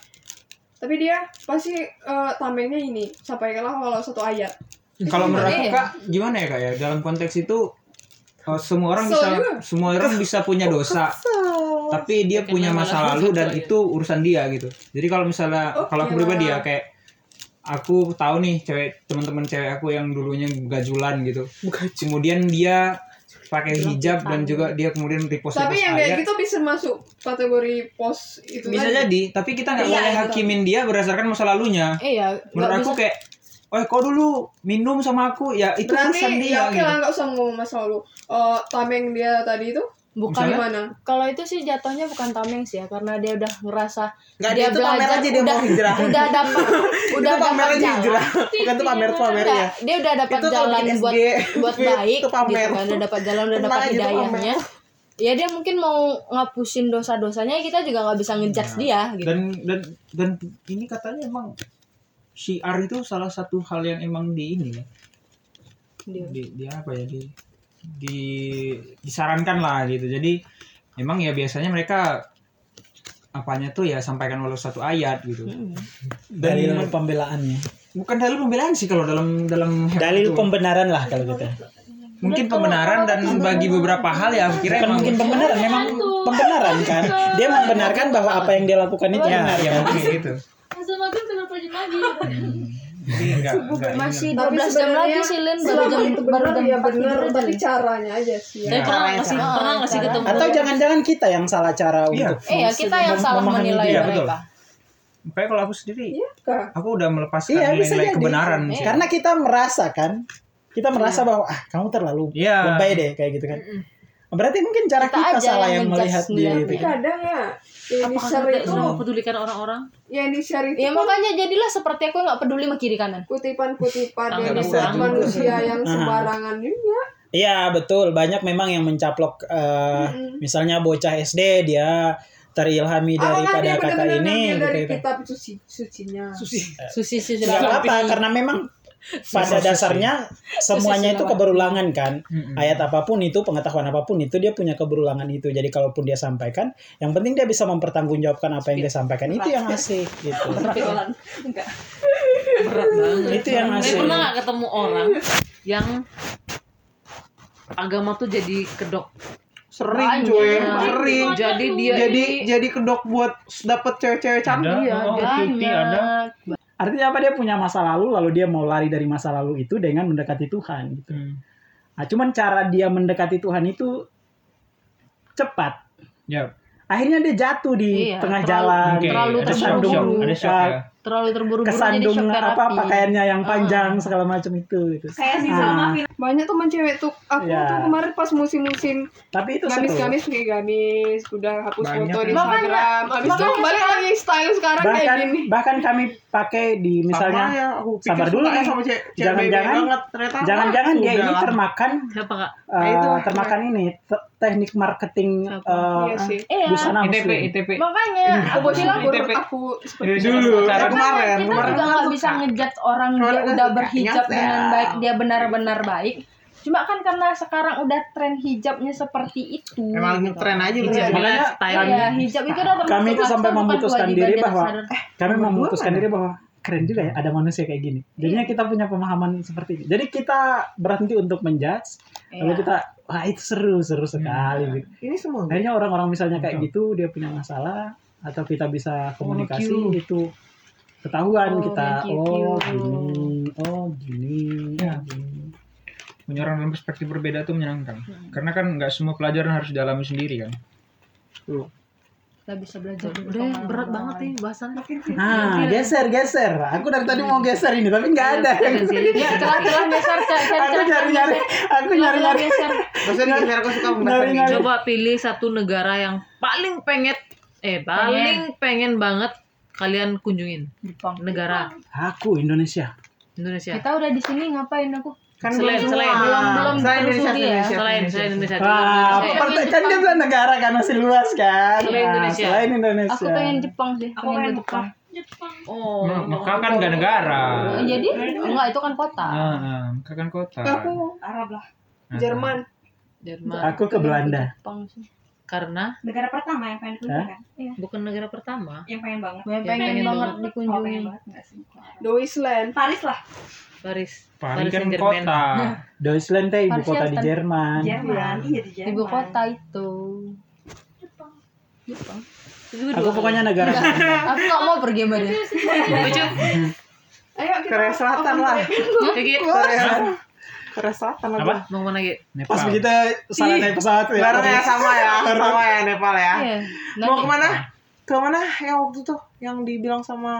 Speaker 8: tapi dia pasti eh, tamengnya ini sampaikanlah walau satu ayat
Speaker 1: kalau menurut aku
Speaker 3: kan
Speaker 6: Iya.
Speaker 1: kak gimana ya kak ya dalam konteks itu eh, semua orang
Speaker 8: Kesel
Speaker 1: bisa
Speaker 8: juga.
Speaker 1: semua orang bisa punya dosa tapi dia
Speaker 7: Bukan
Speaker 1: punya
Speaker 7: malah
Speaker 1: masa
Speaker 7: dia
Speaker 1: lalu dan
Speaker 7: gitu, ya.
Speaker 1: itu urusan dia gitu jadi kalau misalnya
Speaker 8: Oh,
Speaker 1: kalau aku
Speaker 8: iya.
Speaker 1: pribadi ya kayak aku tahu nih cewek teman-teman cewek aku yang dulunya gajulan gitu kemudian dia pakai hijab dan juga dia kemudian repost
Speaker 8: tapi
Speaker 1: repost
Speaker 8: yang kayak
Speaker 1: ayat.
Speaker 8: gitu bisa masuk kategori pos itu
Speaker 1: bisa
Speaker 8: tadi.
Speaker 1: jadi tapi kita nggak
Speaker 8: Iya,
Speaker 1: boleh
Speaker 8: gitu.
Speaker 1: hakimin dia berdasarkan masa lalunya
Speaker 6: Iya, nggak
Speaker 1: menurut
Speaker 6: bisa
Speaker 1: aku kayak oh kau dulu minum sama aku ya itu
Speaker 8: berarti
Speaker 1: urusan dia
Speaker 8: ya oke
Speaker 1: gitu.
Speaker 8: lah nggak usah ngomong masa lalu Eh, tameng dia tadi itu
Speaker 6: bukan
Speaker 1: Misalnya?
Speaker 8: gimana
Speaker 6: kalau itu sih jatuhnya bukan tameng sih ya karena dia udah ngerasa
Speaker 3: Nggak, dia itu pamer aja dia
Speaker 6: udah
Speaker 3: mau hijrah.
Speaker 6: udah dapat udah
Speaker 3: itu pamer
Speaker 6: dapat
Speaker 3: aja
Speaker 6: jalan
Speaker 3: hijrah. Bukan tuh pamer pamer
Speaker 6: Nggak,
Speaker 3: ya.
Speaker 6: dia udah dapat
Speaker 3: Itu kalau
Speaker 6: jalan
Speaker 3: bikin
Speaker 6: buat
Speaker 3: SG,
Speaker 6: buat
Speaker 3: itu
Speaker 6: baik
Speaker 3: pamer.
Speaker 6: gitu kan udah dapat jalan udah
Speaker 3: Tenang
Speaker 6: dapat
Speaker 3: aja, itu pamer.
Speaker 6: hidayahnya ya dia mungkin mau ngapusin dosa-dosanya kita juga nggak bisa
Speaker 3: Nah.
Speaker 6: ngejudge dia gitu
Speaker 1: dan dan dan ini katanya emang syiar itu salah satu hal yang emang di ini ya.
Speaker 6: Di-
Speaker 1: di, di apa ya di, di disarankan lah gitu jadi emang ya biasanya mereka apanya tuh ya sampaikan walau satu ayat gitu
Speaker 6: Mm-mm.
Speaker 1: dan
Speaker 5: Dalil pembelaannya.
Speaker 1: bukan dalil pembelaan sih kalau dalam dalam hemat
Speaker 5: Dalil
Speaker 1: itu.
Speaker 5: pembenaran lah kalau gitu.
Speaker 1: mungkin pembenaran dan bagi beberapa hal ya aku kira
Speaker 5: Bukan
Speaker 1: emang
Speaker 5: mungkin pembenaran, memang pembenaran kan. Dia membenarkan bahwa apa yang dia lakukan itu
Speaker 1: ya
Speaker 5: benar.
Speaker 1: ya
Speaker 5: kan?
Speaker 1: mungkin kayak gitu
Speaker 4: Masa maghrib kenapa jam lagi?
Speaker 1: Jadi enggak- enggak
Speaker 6: masih 12 jam
Speaker 8: Tapi
Speaker 6: lagi
Speaker 8: sebenarnya
Speaker 6: sih Lin baru
Speaker 8: selama
Speaker 6: jam
Speaker 8: itu
Speaker 6: baru
Speaker 8: benar
Speaker 6: jam
Speaker 8: ya
Speaker 6: 4
Speaker 8: benar
Speaker 6: tidur
Speaker 8: tapi
Speaker 6: Lin.
Speaker 8: caranya aja sih
Speaker 7: Tapi
Speaker 1: Nah,
Speaker 7: pernah
Speaker 6: Iya,
Speaker 7: nggak sih
Speaker 6: caranya.
Speaker 7: pernah nggak sih ketemu?
Speaker 5: Atau jangan-jangan kita yang salah cara
Speaker 1: Iya.
Speaker 5: untuk
Speaker 6: Iya, kita yang
Speaker 5: mem-
Speaker 6: salah
Speaker 5: memahami
Speaker 6: menilai
Speaker 1: dia, betul.
Speaker 6: mereka.
Speaker 1: Makanya kalau aku sendiri
Speaker 8: Kak.
Speaker 1: aku udah melepaskan
Speaker 5: Iya, bisa
Speaker 1: nilai-nilai
Speaker 5: jadi.
Speaker 1: kebenaran
Speaker 6: Iya.
Speaker 1: sih.
Speaker 5: Karena kita merasa kan, kita merasa bahwa ah kamu terlalu
Speaker 1: Iya.
Speaker 5: lebay deh kayak gitu kan. Berarti mungkin cara
Speaker 6: Kita
Speaker 5: kita,
Speaker 6: aja
Speaker 5: salah
Speaker 6: yang
Speaker 5: yang
Speaker 6: ngejudge
Speaker 5: melihat dia
Speaker 1: iya,
Speaker 6: dia.
Speaker 5: gitu
Speaker 8: Tapi
Speaker 5: kan.
Speaker 8: kadang ya yang di
Speaker 7: Apakah
Speaker 8: share
Speaker 7: kita
Speaker 8: itu
Speaker 7: sudah mempedulikan orang-orang?
Speaker 8: yang di share itu
Speaker 6: Ya makanya jadilah seperti aku yang nggak peduli sama kiri kanan.
Speaker 8: kutipan-kutipan
Speaker 7: Ah,
Speaker 8: yang
Speaker 7: nggak bisa
Speaker 8: dibuat
Speaker 7: juga.
Speaker 8: manusia yang
Speaker 5: Ah.
Speaker 8: sembarangan juga
Speaker 5: Iya betul, banyak memang yang mencaplok eh,
Speaker 8: Mm-mm.
Speaker 5: misalnya bocah SD dia terilhami
Speaker 8: apakah
Speaker 5: daripada
Speaker 8: kan dia
Speaker 5: kata
Speaker 8: benar-benar
Speaker 5: ini
Speaker 8: ngambil dari
Speaker 5: gitu kan.
Speaker 8: kitab suci sucinya
Speaker 6: Susi Susi
Speaker 5: Nggak apa-apa
Speaker 1: Iya.
Speaker 5: karena memang pada
Speaker 8: Iya.
Speaker 5: dasarnya semuanya itu keberulangan kan.
Speaker 1: Mm-mm.
Speaker 5: Ayat apapun itu, pengetahuan apapun itu dia punya keberulangan itu. Jadi kalaupun dia sampaikan, yang penting dia bisa mempertanggungjawabkan apa yang dia sampaikan itu yang asik gitu.
Speaker 7: Berat banget.
Speaker 5: Itu yang
Speaker 7: Tapi
Speaker 5: asik.
Speaker 7: pernah nggak ketemu orang yang agama tuh jadi kedok?
Speaker 3: Sering cuy,
Speaker 6: Iya.
Speaker 7: Banyak.
Speaker 3: sering.
Speaker 7: Jadi dia
Speaker 3: Jadi
Speaker 7: ini
Speaker 3: jadi kedok buat dapet cewek-cewek cantik.
Speaker 7: Iya,
Speaker 1: Oh,
Speaker 7: banyak.
Speaker 5: Artinya apa dia punya masa lalu lalu dia mau lari dari masa lalu itu dengan mendekati Tuhan gitu.
Speaker 1: Hmm.
Speaker 5: Nah, cuman cara dia mendekati Tuhan itu cepat.
Speaker 1: ya
Speaker 5: Akhirnya dia jatuh di
Speaker 6: Iya,
Speaker 5: tengah
Speaker 6: terlalu-
Speaker 5: jalan,
Speaker 1: Oke,
Speaker 6: terlalu
Speaker 1: ada shock,
Speaker 5: tersandung,
Speaker 1: shock, ada shock ya.
Speaker 6: Terlalu terburu-buru jadi
Speaker 5: kesandung
Speaker 6: shock
Speaker 5: apa
Speaker 6: therapy.
Speaker 5: pakaiannya yang panjang segala macam itu gitu.
Speaker 9: kayak si
Speaker 5: Ah,
Speaker 9: Salma
Speaker 8: banyak teman cewek tuh aku
Speaker 5: Iya.
Speaker 8: tuh kemarin pas musim-musim
Speaker 5: tapi itu seru.
Speaker 8: gamis-gamis pakai gamis udah hapus
Speaker 1: Banyak.
Speaker 8: foto di
Speaker 6: Makanya-
Speaker 8: Instagram habis itu
Speaker 6: makanya
Speaker 8: balik lagi style sekarang kayak
Speaker 5: Bahkan
Speaker 8: gini
Speaker 5: bahkan kami pakai di
Speaker 3: Misalnya
Speaker 5: misalnya
Speaker 3: ya, aku pikir
Speaker 5: sabar dulu
Speaker 3: sukanya
Speaker 5: nih.
Speaker 3: sama cewek cewek
Speaker 5: Jangan-jangan-
Speaker 3: bebe banget ternyata.
Speaker 5: jangan-jangan dia
Speaker 3: Udah
Speaker 5: ini
Speaker 3: lah.
Speaker 5: termakan
Speaker 7: Siapa kak?
Speaker 5: eh,
Speaker 3: Nah, itu lah.
Speaker 5: termakan ini ter- teknik marketing
Speaker 6: Apa?
Speaker 5: eh,
Speaker 8: Iya sih.
Speaker 6: Iya.
Speaker 5: busana
Speaker 1: ITP,
Speaker 5: muslim.
Speaker 1: ITP.
Speaker 6: Makanya aku
Speaker 8: Aku bilang
Speaker 6: bilang
Speaker 8: menurut
Speaker 1: ITP.
Speaker 8: aku
Speaker 1: Dari
Speaker 8: seperti
Speaker 1: dulu.
Speaker 3: Cara kemarin,
Speaker 6: Karena kita
Speaker 3: kemarin
Speaker 6: juga
Speaker 3: kan
Speaker 6: nggak
Speaker 3: suka.
Speaker 6: bisa ngejat orang dia
Speaker 3: Kemarin kan
Speaker 6: udah
Speaker 3: suka.
Speaker 6: berhijab
Speaker 3: Nyesel.
Speaker 6: dengan baik dia benar-benar baik cuma kan karena sekarang udah tren hijabnya seperti itu
Speaker 3: Emang
Speaker 6: gitu.
Speaker 3: tren aja
Speaker 7: Hijab
Speaker 3: bener.
Speaker 7: adalah
Speaker 5: Makanya
Speaker 7: style.
Speaker 6: Iya, hijab itu udah termasuk
Speaker 5: Kami itu sampai
Speaker 6: bukan
Speaker 5: memutuskan
Speaker 6: kewajiban
Speaker 5: diri
Speaker 6: di atas
Speaker 5: bahwa, eh,
Speaker 6: sadar.
Speaker 5: Kami
Speaker 3: Nomor dua
Speaker 5: memutuskan
Speaker 3: mana?
Speaker 5: diri bahwa keren juga ya ada manusia kayak gini.
Speaker 6: Iya.
Speaker 5: Jadinya kita punya pemahaman seperti ini. Jadi kita berhenti untuk menjudge, lalu
Speaker 6: Iya.
Speaker 5: kita wah itu seru seru sekali. gitu.
Speaker 3: Ini semua.
Speaker 5: Akhirnya orang-orang misalnya kayak gitu dia punya masalah atau kita bisa komunikasi
Speaker 1: cute.
Speaker 5: itu ketahuan
Speaker 6: Oh,
Speaker 5: kita
Speaker 6: thank you, Iya.
Speaker 5: oh
Speaker 6: cute.
Speaker 5: gini oh gini oh,
Speaker 1: Ya.
Speaker 5: gini.
Speaker 1: Menyorong dalam perspektif berbeda tuh menyenangkan. Karena kan nggak semua pelajaran harus dialami sendiri kan.
Speaker 6: Kita bisa belajar dari
Speaker 7: Udah
Speaker 6: pengalaman
Speaker 7: berat
Speaker 6: orang
Speaker 7: banget Iya nih
Speaker 6: lain.
Speaker 7: bahasan.
Speaker 5: Nah, geser, geser. Aku dari tadi mau geser ini, tapi nggak ada.
Speaker 7: Iya,
Speaker 6: Ya, celah-celah geser, cari cari
Speaker 5: Aku nyari-nyari, aku
Speaker 6: celah
Speaker 5: nyari-nyari,
Speaker 6: geser.
Speaker 3: Maksudnya di aku suka
Speaker 5: nyari-nyari.
Speaker 3: membahas
Speaker 7: Coba pilih satu negara yang paling pengen eh paling pengen banget kalian kunjungin.
Speaker 6: Jepang.
Speaker 7: Negara
Speaker 5: Aku Indonesia.
Speaker 7: Indonesia.
Speaker 6: Kita udah di sini ngapain aku?
Speaker 3: Kan
Speaker 7: Selain-
Speaker 3: belum
Speaker 7: selain-
Speaker 3: semua.
Speaker 6: belum- belum
Speaker 3: Selain Indonesia,
Speaker 6: telusuri ya.
Speaker 3: Indonesia,
Speaker 7: Selain
Speaker 3: Indonesia.
Speaker 7: selain Indonesia.
Speaker 5: Wah,
Speaker 7: Indonesia.
Speaker 5: pertanyaan kan dia bilang negara kan masih luas kan.
Speaker 6: Iya,
Speaker 7: Selain
Speaker 5: Nah,
Speaker 7: Indonesia.
Speaker 5: Selain Indonesia.
Speaker 6: Aku pengen Jepang sih,
Speaker 8: Aku pengen
Speaker 6: ke Jepang.
Speaker 4: Jepang.
Speaker 7: Oh.
Speaker 1: Nah, Mekah kan nggak negara.
Speaker 6: Eh, Jadi
Speaker 10: Iya,
Speaker 6: enggak itu kan kota.
Speaker 1: Ah, ah, Mekah kan kota.
Speaker 8: aku Arab lah.
Speaker 1: Ah,
Speaker 8: Jerman.
Speaker 7: Jerman.
Speaker 5: Aku ke Belanda.
Speaker 6: Jepang sih.
Speaker 7: Karena
Speaker 10: Negara pertama yang pengen kunjungi kan?
Speaker 7: bukan negara pertama.
Speaker 10: Yang Iya, pengen banget.
Speaker 6: Pengen,
Speaker 7: pengen
Speaker 6: banget
Speaker 7: banget.
Speaker 10: Oh,
Speaker 6: dikunjungi.
Speaker 10: pengen banget enggak sih?
Speaker 8: The Wasteland.
Speaker 10: Paris lah.
Speaker 7: Paris.
Speaker 1: Paris kan
Speaker 7: Saint-Germain.
Speaker 1: kota.
Speaker 5: Deutschland teh ibu
Speaker 6: Paris
Speaker 5: kota di
Speaker 6: Hilton.
Speaker 5: Jerman.
Speaker 10: Jerman. Iya di Jerman.
Speaker 6: Ibu kota itu. Jepang.
Speaker 7: Itu
Speaker 5: Aku
Speaker 6: Iya.
Speaker 7: dua.
Speaker 5: pokoknya negara.
Speaker 6: Aku nggak mau pergi sama dia.
Speaker 10: Iya.
Speaker 7: Ucup,
Speaker 8: Ayo kita
Speaker 3: Korea Selatan
Speaker 6: Oh,
Speaker 3: lah.
Speaker 7: Gigit.
Speaker 3: Korea Korea Selatan lah.
Speaker 1: Apa?
Speaker 7: Mau mana Gigit?
Speaker 1: Nepal.
Speaker 5: Pas begitu salah naik pesawat ya.
Speaker 3: Bareng ya sama ya, sama ya Nepal ya.
Speaker 6: Iya.
Speaker 3: Mau
Speaker 6: Nanti-
Speaker 3: kemana? Ke mana yang waktu tuh yang dibilang sama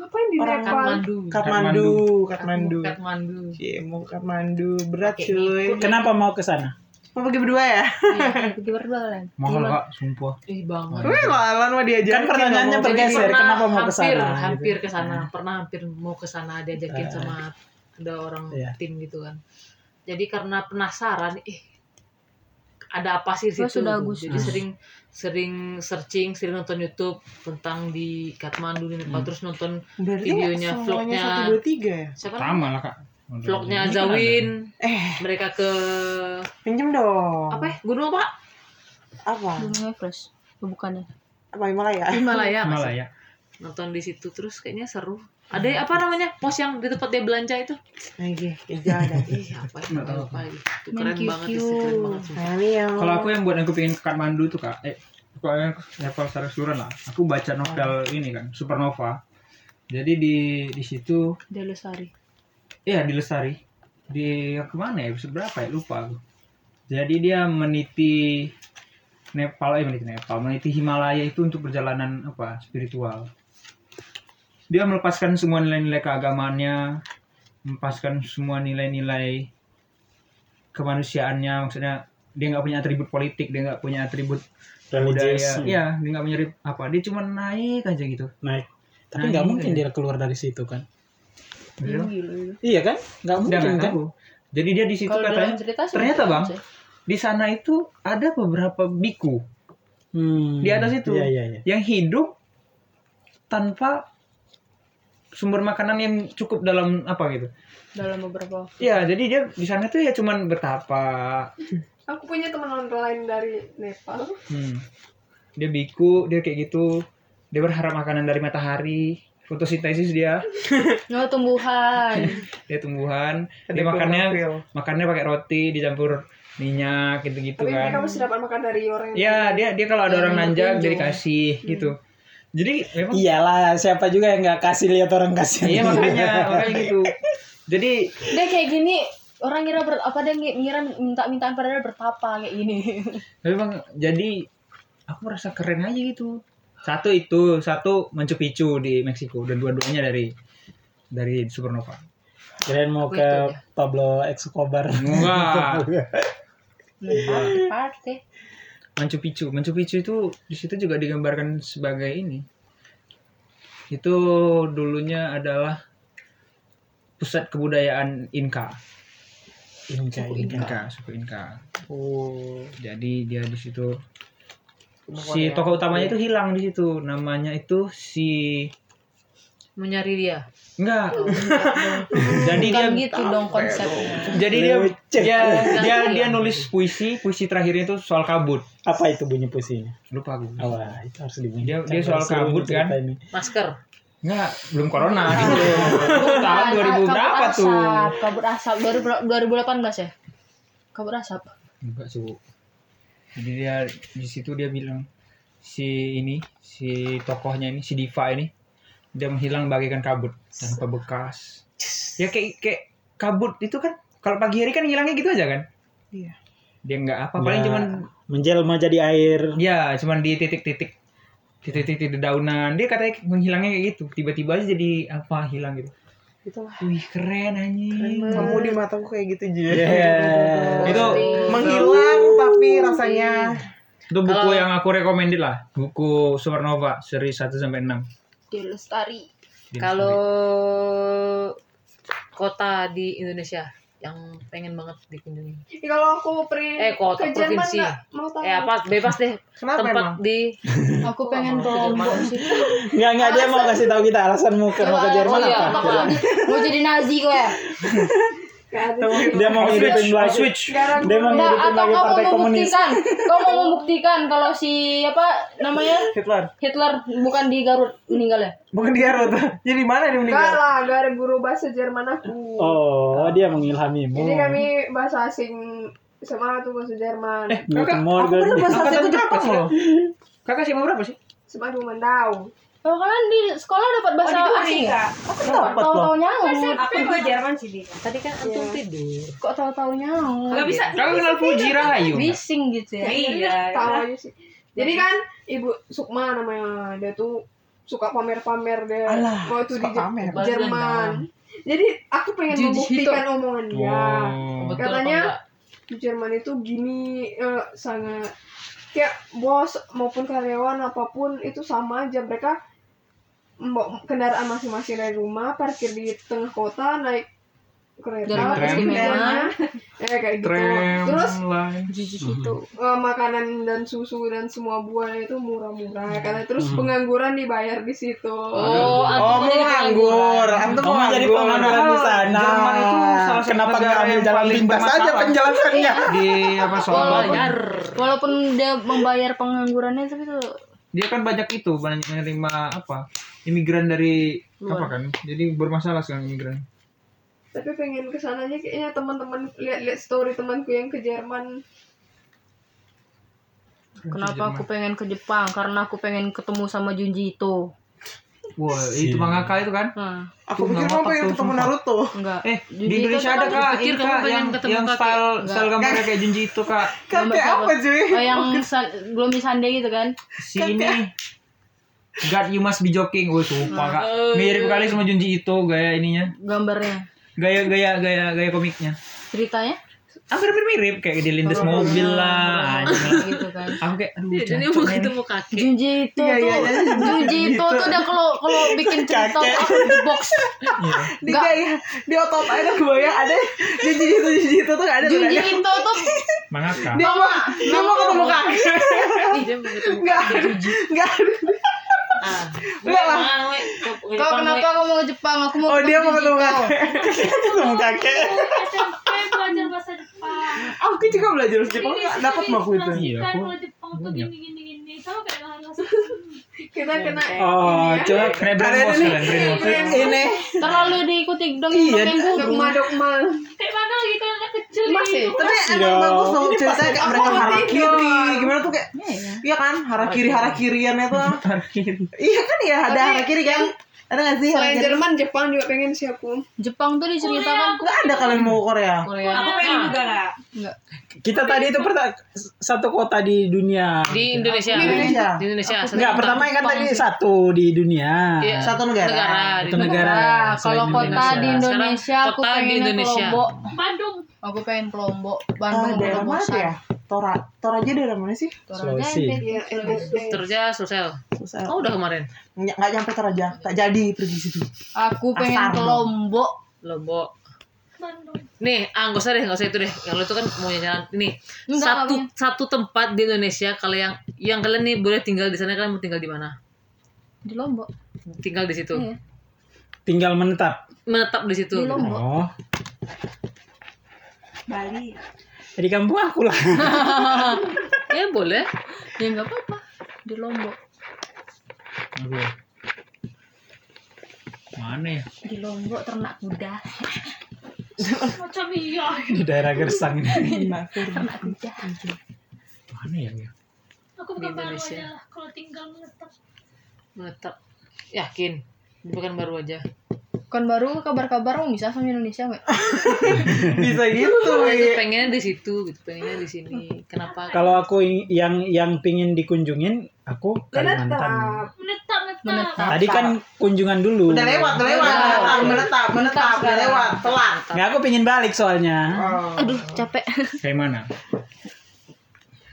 Speaker 8: ngapain di
Speaker 3: Orang
Speaker 8: Nepal?
Speaker 7: Kathmandu.
Speaker 3: Kathmandu, Kathmandu.
Speaker 7: Kathmandu.
Speaker 3: Cie, Iya, mau ke Kathmandu berat
Speaker 7: Pakai
Speaker 3: cuy.
Speaker 5: Kenapa mau ke sana?
Speaker 3: Mau pergi berdua ya?
Speaker 6: Iya, Pergi berdua kalian.
Speaker 1: Mahal kak, sumpah.
Speaker 7: Ih banget.
Speaker 3: Wih, lalan mau diajak. Iya,
Speaker 5: Kan pertanyaannya bergeser.
Speaker 7: Pernah
Speaker 5: Kenapa mau ke
Speaker 7: hampir,
Speaker 5: sana?
Speaker 7: Hampir
Speaker 5: gitu.
Speaker 7: ke sana. Pernah hampir mau ke sana diajakin
Speaker 5: Eh.
Speaker 7: sama ada orang
Speaker 5: Iya.
Speaker 7: tim gitu kan. Jadi karena penasaran, eh ada apa sih di
Speaker 6: Terus
Speaker 7: situ?
Speaker 6: udah
Speaker 7: gitu.
Speaker 6: Agustus.
Speaker 7: Jadi sering sering searching, sering nonton YouTube tentang di Kathmandu di
Speaker 5: Hmm.
Speaker 7: Nepal terus nonton
Speaker 3: Berarti
Speaker 7: Videonya,
Speaker 3: semuanya
Speaker 7: vlognya.
Speaker 3: satu dua tiga ya?
Speaker 7: siapa namanya?
Speaker 1: Sama lah kak. Ini
Speaker 7: vlognya
Speaker 1: kan ada.
Speaker 7: Zawin
Speaker 3: Eh,
Speaker 7: mereka ke
Speaker 3: pinjem dong.
Speaker 7: apa ya gunung apa
Speaker 3: Apa?
Speaker 6: Gunung Everest. Oh, Bukannya.
Speaker 3: Apa Himalaya?
Speaker 7: Himalaya nggak sih?
Speaker 1: Malah ya.
Speaker 7: nonton di situ terus kayaknya seru ada apa namanya pos yang di tempat dia belanja itu
Speaker 3: Oke, ya ada.
Speaker 7: ih apa ya
Speaker 1: Nggak tahu.
Speaker 7: lupa lagi itu
Speaker 6: Main
Speaker 7: keren
Speaker 6: QQ.
Speaker 7: banget sih keren banget sumpah.
Speaker 3: Ayo.
Speaker 1: Kalau aku yang buat aku pengen ke Kathmandu tuh kak, eh pokoknya level secara keseluruhan lah. Aku baca novel ini kan, Supernova. Jadi di di situ,
Speaker 6: Delusari.
Speaker 1: iya di Lestari, di kemana ya? Seberapa ya? Lupa aku. Jadi dia meniti Nepal, eh meniti Nepal, meniti Himalaya itu untuk perjalanan apa spiritual. Dia melepaskan semua nilai-nilai keagamaannya, melepaskan semua nilai-nilai kemanusiaannya. Maksudnya dia nggak punya atribut politik, dia nggak punya atribut
Speaker 5: Religious.
Speaker 1: budaya. Iya, dia nggak punya rib- apa. Dia cuma naik aja gitu.
Speaker 5: Naik. Tapi
Speaker 1: Nah,
Speaker 5: nggak
Speaker 1: iya.
Speaker 5: mungkin dia keluar dari situ kan?
Speaker 1: Gitu.
Speaker 5: Iya kan? Nggak
Speaker 1: Dia
Speaker 5: mungkin
Speaker 1: nggak
Speaker 5: kan?
Speaker 1: tahu. Jadi dia di situ
Speaker 6: Kalau dalam
Speaker 1: katanya
Speaker 6: cerita sih
Speaker 1: ternyata,
Speaker 6: bukan
Speaker 1: Bang.
Speaker 6: sih.
Speaker 1: di sana itu ada beberapa biku
Speaker 5: Hmm.
Speaker 1: Di atas itu.
Speaker 5: Iya iya iya.
Speaker 1: yang hidup tanpa sumber makanan yang cukup dalam apa gitu.
Speaker 6: dalam beberapa
Speaker 1: Ya, jadi dia di sana tuh ya cuman bertapa.
Speaker 8: Aku punya teman online dari Nepal.
Speaker 1: Hmm. Dia biku, dia kayak gitu. Dia berharap makanan dari matahari, fotosintesis dia,
Speaker 6: no Oh, tumbuhan
Speaker 1: dia tumbuhan, dia makannya makannya pakai roti dicampur minyak gitu-gitu
Speaker 8: Tapi mereka
Speaker 1: kan.
Speaker 8: masih dapat makan dari orang yang
Speaker 3: Iya.
Speaker 1: Ya, dia dia kalau ada orang nanjak
Speaker 6: Tunjuk.
Speaker 1: dia dikasih gitu. Jadi memang
Speaker 5: Iyalah, siapa juga yang nggak kasih lihat orang kasih.
Speaker 1: iya makanya makanya gitu. Jadi
Speaker 6: dia kayak gini orang ngira ber, apa dia ngi- ngira minta mintaan padahal bertapa kayak gini
Speaker 1: memang jadi aku merasa keren aja gitu satu itu satu Machu Picchu di Meksiko dan dua-duanya dari dari Supernova
Speaker 5: Kalian mau
Speaker 7: Aku
Speaker 5: ke
Speaker 7: itu aja.
Speaker 5: Pablo Escobar.
Speaker 1: Wah.
Speaker 6: pasti
Speaker 1: Machu Picchu Machu Picchu itu di situ juga digambarkan sebagai ini itu dulunya adalah pusat kebudayaan Inka
Speaker 5: Inca, Inca.
Speaker 1: Inka suku Inka Oh, jadi dia di situ si
Speaker 7: Pokoknya.
Speaker 1: tokoh
Speaker 5: ya.
Speaker 1: utamanya itu hilang di situ. Namanya itu si
Speaker 7: Menyari dia.
Speaker 1: enggak. jadi dia
Speaker 7: Bukan gitu dong konsepnya.
Speaker 1: jadi dia dia dia
Speaker 7: Enggak,
Speaker 1: dia
Speaker 7: iya.
Speaker 1: nulis puisi, puisi terakhirnya itu soal kabut.
Speaker 5: Apa itu bunyi puisinya?
Speaker 1: Lupa aku.
Speaker 5: Oh, wah, itu harus dibunyi.
Speaker 1: Dia dia soal
Speaker 5: Seru
Speaker 1: kabut
Speaker 5: cerita
Speaker 1: kan?
Speaker 5: ini.
Speaker 7: Masker.
Speaker 1: Enggak, belum corona
Speaker 5: Iya.
Speaker 1: itu. Tahun 2000 berapa
Speaker 6: Iya, asap,
Speaker 1: tuh?
Speaker 6: Kabut asap 2000 2018 ya? Kabut asap.
Speaker 1: Enggak su. Jadi dia di situ dia bilang si ini si tokohnya ini si Diva ini dia menghilang bagaikan kabut tanpa bekas. Ya kayak kayak kabut itu kan kalau pagi hari kan hilangnya gitu aja kan?
Speaker 7: Iya.
Speaker 1: Dia nggak apa paling
Speaker 5: Nggak.
Speaker 1: cuman
Speaker 5: Menjelma jadi air.
Speaker 1: ya cuman di titik-titik titik-titik dedaunan dia katanya menghilangnya kayak gitu tiba-tiba aja jadi apa hilang gitu
Speaker 3: Itulah.
Speaker 1: wih keren anjing Iya.
Speaker 3: Kamu di mataku kayak gitu
Speaker 7: Iya.
Speaker 3: juga.
Speaker 1: Yeah. itu
Speaker 3: Menghilang tapi rasanya
Speaker 1: itu buku
Speaker 7: Kalau-
Speaker 1: yang aku recommended lah buku Supernova seri 1 sampai 6
Speaker 6: Dia lestari.
Speaker 7: Kalau kota di Indonesia yang pengen banget dikunjungi.
Speaker 8: Ih, Ya, kalau aku print
Speaker 7: Eh, kota,
Speaker 8: ke Jerman
Speaker 7: provinsi.
Speaker 8: nggak mau tahu.
Speaker 7: Eh apa bebas deh
Speaker 3: kenapa
Speaker 7: tempat
Speaker 3: emang?
Speaker 7: di
Speaker 6: Aku pengen ke Lombok sih.
Speaker 5: Enggak, enggak dia mau kasih tahu kita alasanmu ke mau ke
Speaker 7: Oh,
Speaker 5: Jerman
Speaker 6: Iya,
Speaker 5: apa?
Speaker 6: mau jadi- mau jadi Nazi ya? gue.
Speaker 8: Nggak ada.
Speaker 5: Dia mau ngidupin lagi.
Speaker 1: switch
Speaker 5: Dia mau
Speaker 6: Enggak,
Speaker 5: ngidupin
Speaker 6: atau
Speaker 5: lagi
Speaker 6: kau
Speaker 5: partai
Speaker 6: mau
Speaker 5: komunis.
Speaker 6: membuktikan? Kau mau membuktikan kalau si apa namanya
Speaker 3: Hitler.
Speaker 6: Hitler bukan di Garut meninggal ya?
Speaker 3: Bukan di Garut. Jadi mana dia
Speaker 8: Nggak
Speaker 3: meninggal?
Speaker 8: lah, nggak ada guru bahasa Jerman aku.
Speaker 5: Oh, dia mengilhamimu.
Speaker 3: Oh.
Speaker 8: Jadi kami bahasa asing SMA tuh bahasa Jerman. Eh.
Speaker 5: Guten
Speaker 3: Aku
Speaker 5: Morgen.
Speaker 3: bener bahasa
Speaker 1: Angkatan
Speaker 3: itu
Speaker 1: berapa
Speaker 3: Jepang
Speaker 1: sih?
Speaker 3: loh.
Speaker 1: kakak sih mau berapa sih
Speaker 8: SMA dua Mandau.
Speaker 6: Oh kan di sekolah dapat
Speaker 2: Oh,
Speaker 6: bahasa asing ya?
Speaker 5: Dapat loh.
Speaker 6: Tahu-tahu nyaut.
Speaker 10: Aku juga Jerman sih dia.
Speaker 7: tadi kan
Speaker 8: Iya.
Speaker 7: antum tidur.
Speaker 6: Kok tahu-tahu nyaut?
Speaker 10: Gak bisa.
Speaker 1: kakak kenal Fuji Rahayu nggak?
Speaker 6: Bising gitu ya.
Speaker 10: Iya.
Speaker 8: Tahu aja sih. Jadi kan Ibu Sukma namanya dia tuh suka pamer-pamer dia
Speaker 3: Alah,
Speaker 8: mau itu di
Speaker 3: suka
Speaker 8: Je-
Speaker 3: pamer.
Speaker 8: Jerman. Jadi aku pengen
Speaker 7: Jijik
Speaker 8: membuktikan omongan dia.
Speaker 1: Oh.
Speaker 7: Betul apa
Speaker 8: Katanya-
Speaker 7: enggak?
Speaker 8: di Jerman itu gini eh, sangat kayak bos maupun karyawan apapun itu sama aja mereka membawa kendaraan masing-masing dari rumah parkir di tengah kota naik
Speaker 6: Dari
Speaker 8: kereta
Speaker 1: Tram.
Speaker 8: kemudiannya eh kayak gitu
Speaker 1: Tram,
Speaker 8: terus
Speaker 1: line.
Speaker 8: eh, makanan dan susu dan semua buah itu murah-murah karena terus pengangguran dibayar di situ
Speaker 3: Oh,
Speaker 7: Oh,
Speaker 3: mau
Speaker 7: antum jadi
Speaker 3: nganggur.
Speaker 7: iya.
Speaker 3: Antum
Speaker 5: Oh,
Speaker 3: mau
Speaker 5: jadi
Speaker 3: nganggur.
Speaker 5: pengangguran di sana.
Speaker 1: Jerman itu salah satu
Speaker 5: Kenapa nggak
Speaker 1: negara
Speaker 5: ambil
Speaker 1: yang
Speaker 5: jalan
Speaker 1: paling
Speaker 5: pintas aja
Speaker 1: bermasalah.
Speaker 5: penjelasannya?
Speaker 1: di apa soal
Speaker 7: bayar.
Speaker 6: Walaupun dia membayar penganggurannya gitu. tapi tuh
Speaker 1: dia kan banyak itu banyak menerima apa imigran dari apa kan jadi bermasalah sekarang imigran
Speaker 8: tapi pengen kesananya kayaknya teman-teman lihat-lihat story temanku yang ke Jerman
Speaker 6: kenapa aku pengen ke Jepang? Karena aku pengen ketemu sama Junji itu.
Speaker 1: wah itu mangaka itu kan
Speaker 6: Nah,
Speaker 3: Aku
Speaker 1: Tuh,
Speaker 3: pikir
Speaker 1: nggak
Speaker 3: kamu
Speaker 1: otak
Speaker 3: pengen
Speaker 1: tuh,
Speaker 3: ketemu
Speaker 1: sumpah.
Speaker 3: Naruto.
Speaker 6: enggak.
Speaker 1: eh di
Speaker 6: Junji Ito
Speaker 1: Indonesia
Speaker 6: tuh
Speaker 1: ada
Speaker 6: kan
Speaker 1: kak
Speaker 7: pikir
Speaker 1: ini
Speaker 7: kamu
Speaker 1: kak
Speaker 7: pengen
Speaker 1: yang
Speaker 7: ketemu
Speaker 1: yang
Speaker 7: kakek.
Speaker 1: style style
Speaker 7: Enggak.
Speaker 1: gambarnya kayak Junji itu kak
Speaker 3: Kan
Speaker 6: Gambar
Speaker 3: kayak
Speaker 6: siapa?
Speaker 3: apa cuy?
Speaker 6: Oh,
Speaker 7: ya.
Speaker 6: yang sa- belum disande gitu kan?
Speaker 1: si ini God you must be joking wah sumpah kak mirip kali sama Junji itu gaya ininya
Speaker 6: Gambarnya,
Speaker 1: gaya gaya gaya gaya komiknya
Speaker 6: ceritanya
Speaker 1: hampir hampir mirip kayak dilindas mobil lah anjing lah.
Speaker 6: gitu kan.
Speaker 1: aku kayak aduh
Speaker 7: Jadi mau ketemu kakek.
Speaker 6: Junji itu
Speaker 3: Iya,
Speaker 6: tuh,
Speaker 3: iya, iya, iya,
Speaker 6: Junji
Speaker 3: gitu.
Speaker 6: itu tuh udah kalau kalau bikin cerita tuh out of the box.
Speaker 3: Di kayak di otot aja gue ya ada jijik itu jijik itu tuh nggak ada tuh
Speaker 6: Junji
Speaker 3: nggak ada.
Speaker 6: itu tuh
Speaker 1: mangaka
Speaker 3: Dia mau dia mau ketemu kakek.
Speaker 7: Ih, dia mau ketemu
Speaker 3: Enggak. Enggak.
Speaker 7: Ah.
Speaker 3: Enggak lah.
Speaker 7: Mang, we. Ke- ke
Speaker 6: Kau
Speaker 7: Jepang,
Speaker 6: kenapa
Speaker 7: we.
Speaker 6: aku mau ke Jepang? Aku mau
Speaker 3: Oh,
Speaker 6: ketemu
Speaker 3: dia mau
Speaker 6: Junji
Speaker 3: ketemu kakek. Ketemu
Speaker 6: Ito.
Speaker 3: kakek.
Speaker 4: SMP belajar bahasa Jepang.
Speaker 3: Aku juga belajar bahasa Jepang
Speaker 4: Jadi
Speaker 3: nggak dapat
Speaker 4: sering
Speaker 3: mah aku itu.
Speaker 4: dijelaskan
Speaker 1: Iya, aku-
Speaker 4: kalau Jepang tuh
Speaker 1: banyak.
Speaker 4: gini gini gini. Sama kayak bahasa.
Speaker 8: kita kena ya.
Speaker 5: Oh,
Speaker 6: ya.
Speaker 5: coba
Speaker 1: keren brainwash
Speaker 3: ini-
Speaker 1: kalian brainwash
Speaker 3: Ini
Speaker 6: Terlalu diikuti dong
Speaker 3: Iya,
Speaker 6: yang
Speaker 8: dogma dogma ya,
Speaker 4: Kayak mana lagi
Speaker 8: gitu,
Speaker 4: kan anak kecil
Speaker 8: masih
Speaker 4: gitu.
Speaker 3: tapi emang
Speaker 5: dong.
Speaker 3: bagus loh ceritanya kayak mereka
Speaker 8: mau
Speaker 3: hara
Speaker 8: tidur.
Speaker 3: kiri gimana tuh kayak iya kan hara kiri hara kiriannya tuh iya kan ya ada hara kiri kan ada nggak sih hara
Speaker 8: selain
Speaker 3: kiri
Speaker 8: Jerman Jepang juga pengen sih aku
Speaker 6: Jepang tuh diceritakan
Speaker 3: nggak ada kalian mau ke Korea
Speaker 6: Korea.
Speaker 10: Aku pengen juga lah.
Speaker 5: Kita tadi itu perta- satu kota di dunia.
Speaker 7: Di Indonesia.
Speaker 3: Indonesia.
Speaker 7: Di Indonesia. satu
Speaker 5: Enggak,
Speaker 7: kota.
Speaker 5: pertama kan tadi satu di dunia.
Speaker 7: Iya.
Speaker 3: satu negara.
Speaker 7: Negara. di
Speaker 5: Satu
Speaker 7: dunia.
Speaker 5: negara.
Speaker 6: Nah, kalau
Speaker 5: selain
Speaker 6: kota di
Speaker 5: Indonesia.
Speaker 6: Indonesia
Speaker 7: Sekarang
Speaker 6: aku
Speaker 7: kota di
Speaker 6: pengen ke
Speaker 7: Indonesia.
Speaker 6: Lombok.
Speaker 4: Bandung.
Speaker 6: Aku pengen ke Lombok,
Speaker 3: Ah,
Speaker 6: Bandung,
Speaker 3: daerah
Speaker 6: belum
Speaker 3: mana tuh ya Tora Tora aja daerah mana sih
Speaker 5: Sulawesi. Iya,
Speaker 8: ya NTT
Speaker 7: Terja ya, Sulsel.
Speaker 3: Susah.
Speaker 7: Kau udah kemarin?
Speaker 3: Nggak nggak nyampe Toraja, tak jadi pergi situ.
Speaker 6: Aku pengen
Speaker 3: Asal.
Speaker 6: ke Lombok.
Speaker 7: Lombok.
Speaker 4: Bandung.
Speaker 7: Nih, ah nggak usah deh, nggak usah itu deh. Yang lu tuh kan mau jalan ini
Speaker 4: Enggak,
Speaker 7: satu
Speaker 4: nggak
Speaker 7: satu tempat di Indonesia kalau yang yang kalian nih boleh tinggal di sana kalian mau tinggal di mana?
Speaker 6: Di Lombok.
Speaker 7: Tinggal di situ.
Speaker 6: Iya.
Speaker 5: Tinggal menetap.
Speaker 7: Menetap di situ.
Speaker 6: Di Lombok.
Speaker 5: Oh.
Speaker 10: Bali.
Speaker 5: Jadi kampung aku lah.
Speaker 7: ya boleh.
Speaker 6: Ya nggak apa-apa. Di Lombok.
Speaker 1: Aduh. Mana ya?
Speaker 6: Di Lombok ternak kuda.
Speaker 4: Macam iya.
Speaker 5: Di daerah Gersang ini.
Speaker 6: ternak kuda.
Speaker 1: Mana ya? ya?
Speaker 4: Aku
Speaker 7: Di
Speaker 4: bukan baru
Speaker 7: Indonesia.
Speaker 4: aja lah. Kalau tinggal menetap.
Speaker 7: Menetap. Yakin. Bukan baru aja.
Speaker 3: Iya.
Speaker 6: Kan baru kabar-kabar mau bisa sama Indonesia nggak?
Speaker 3: Bisa gitu.
Speaker 7: Itu
Speaker 3: Wi.
Speaker 7: pengennya di situ, gitu. Pengennya di sini. Kenapa?
Speaker 5: Kalau aku ing- yang yang pingin dikunjungin, aku Kalimantan.
Speaker 8: Menetap.
Speaker 4: Menetap, menetap.
Speaker 6: Menetap.
Speaker 5: Tadi kan kunjungan dulu.
Speaker 3: Udah lewat, udah lewat. Menetap, menetap, menetap, udah lewat, telat.
Speaker 5: Nggak, aku pingin balik soalnya.
Speaker 3: Oh.
Speaker 6: Aduh capek.
Speaker 1: Kayak mana?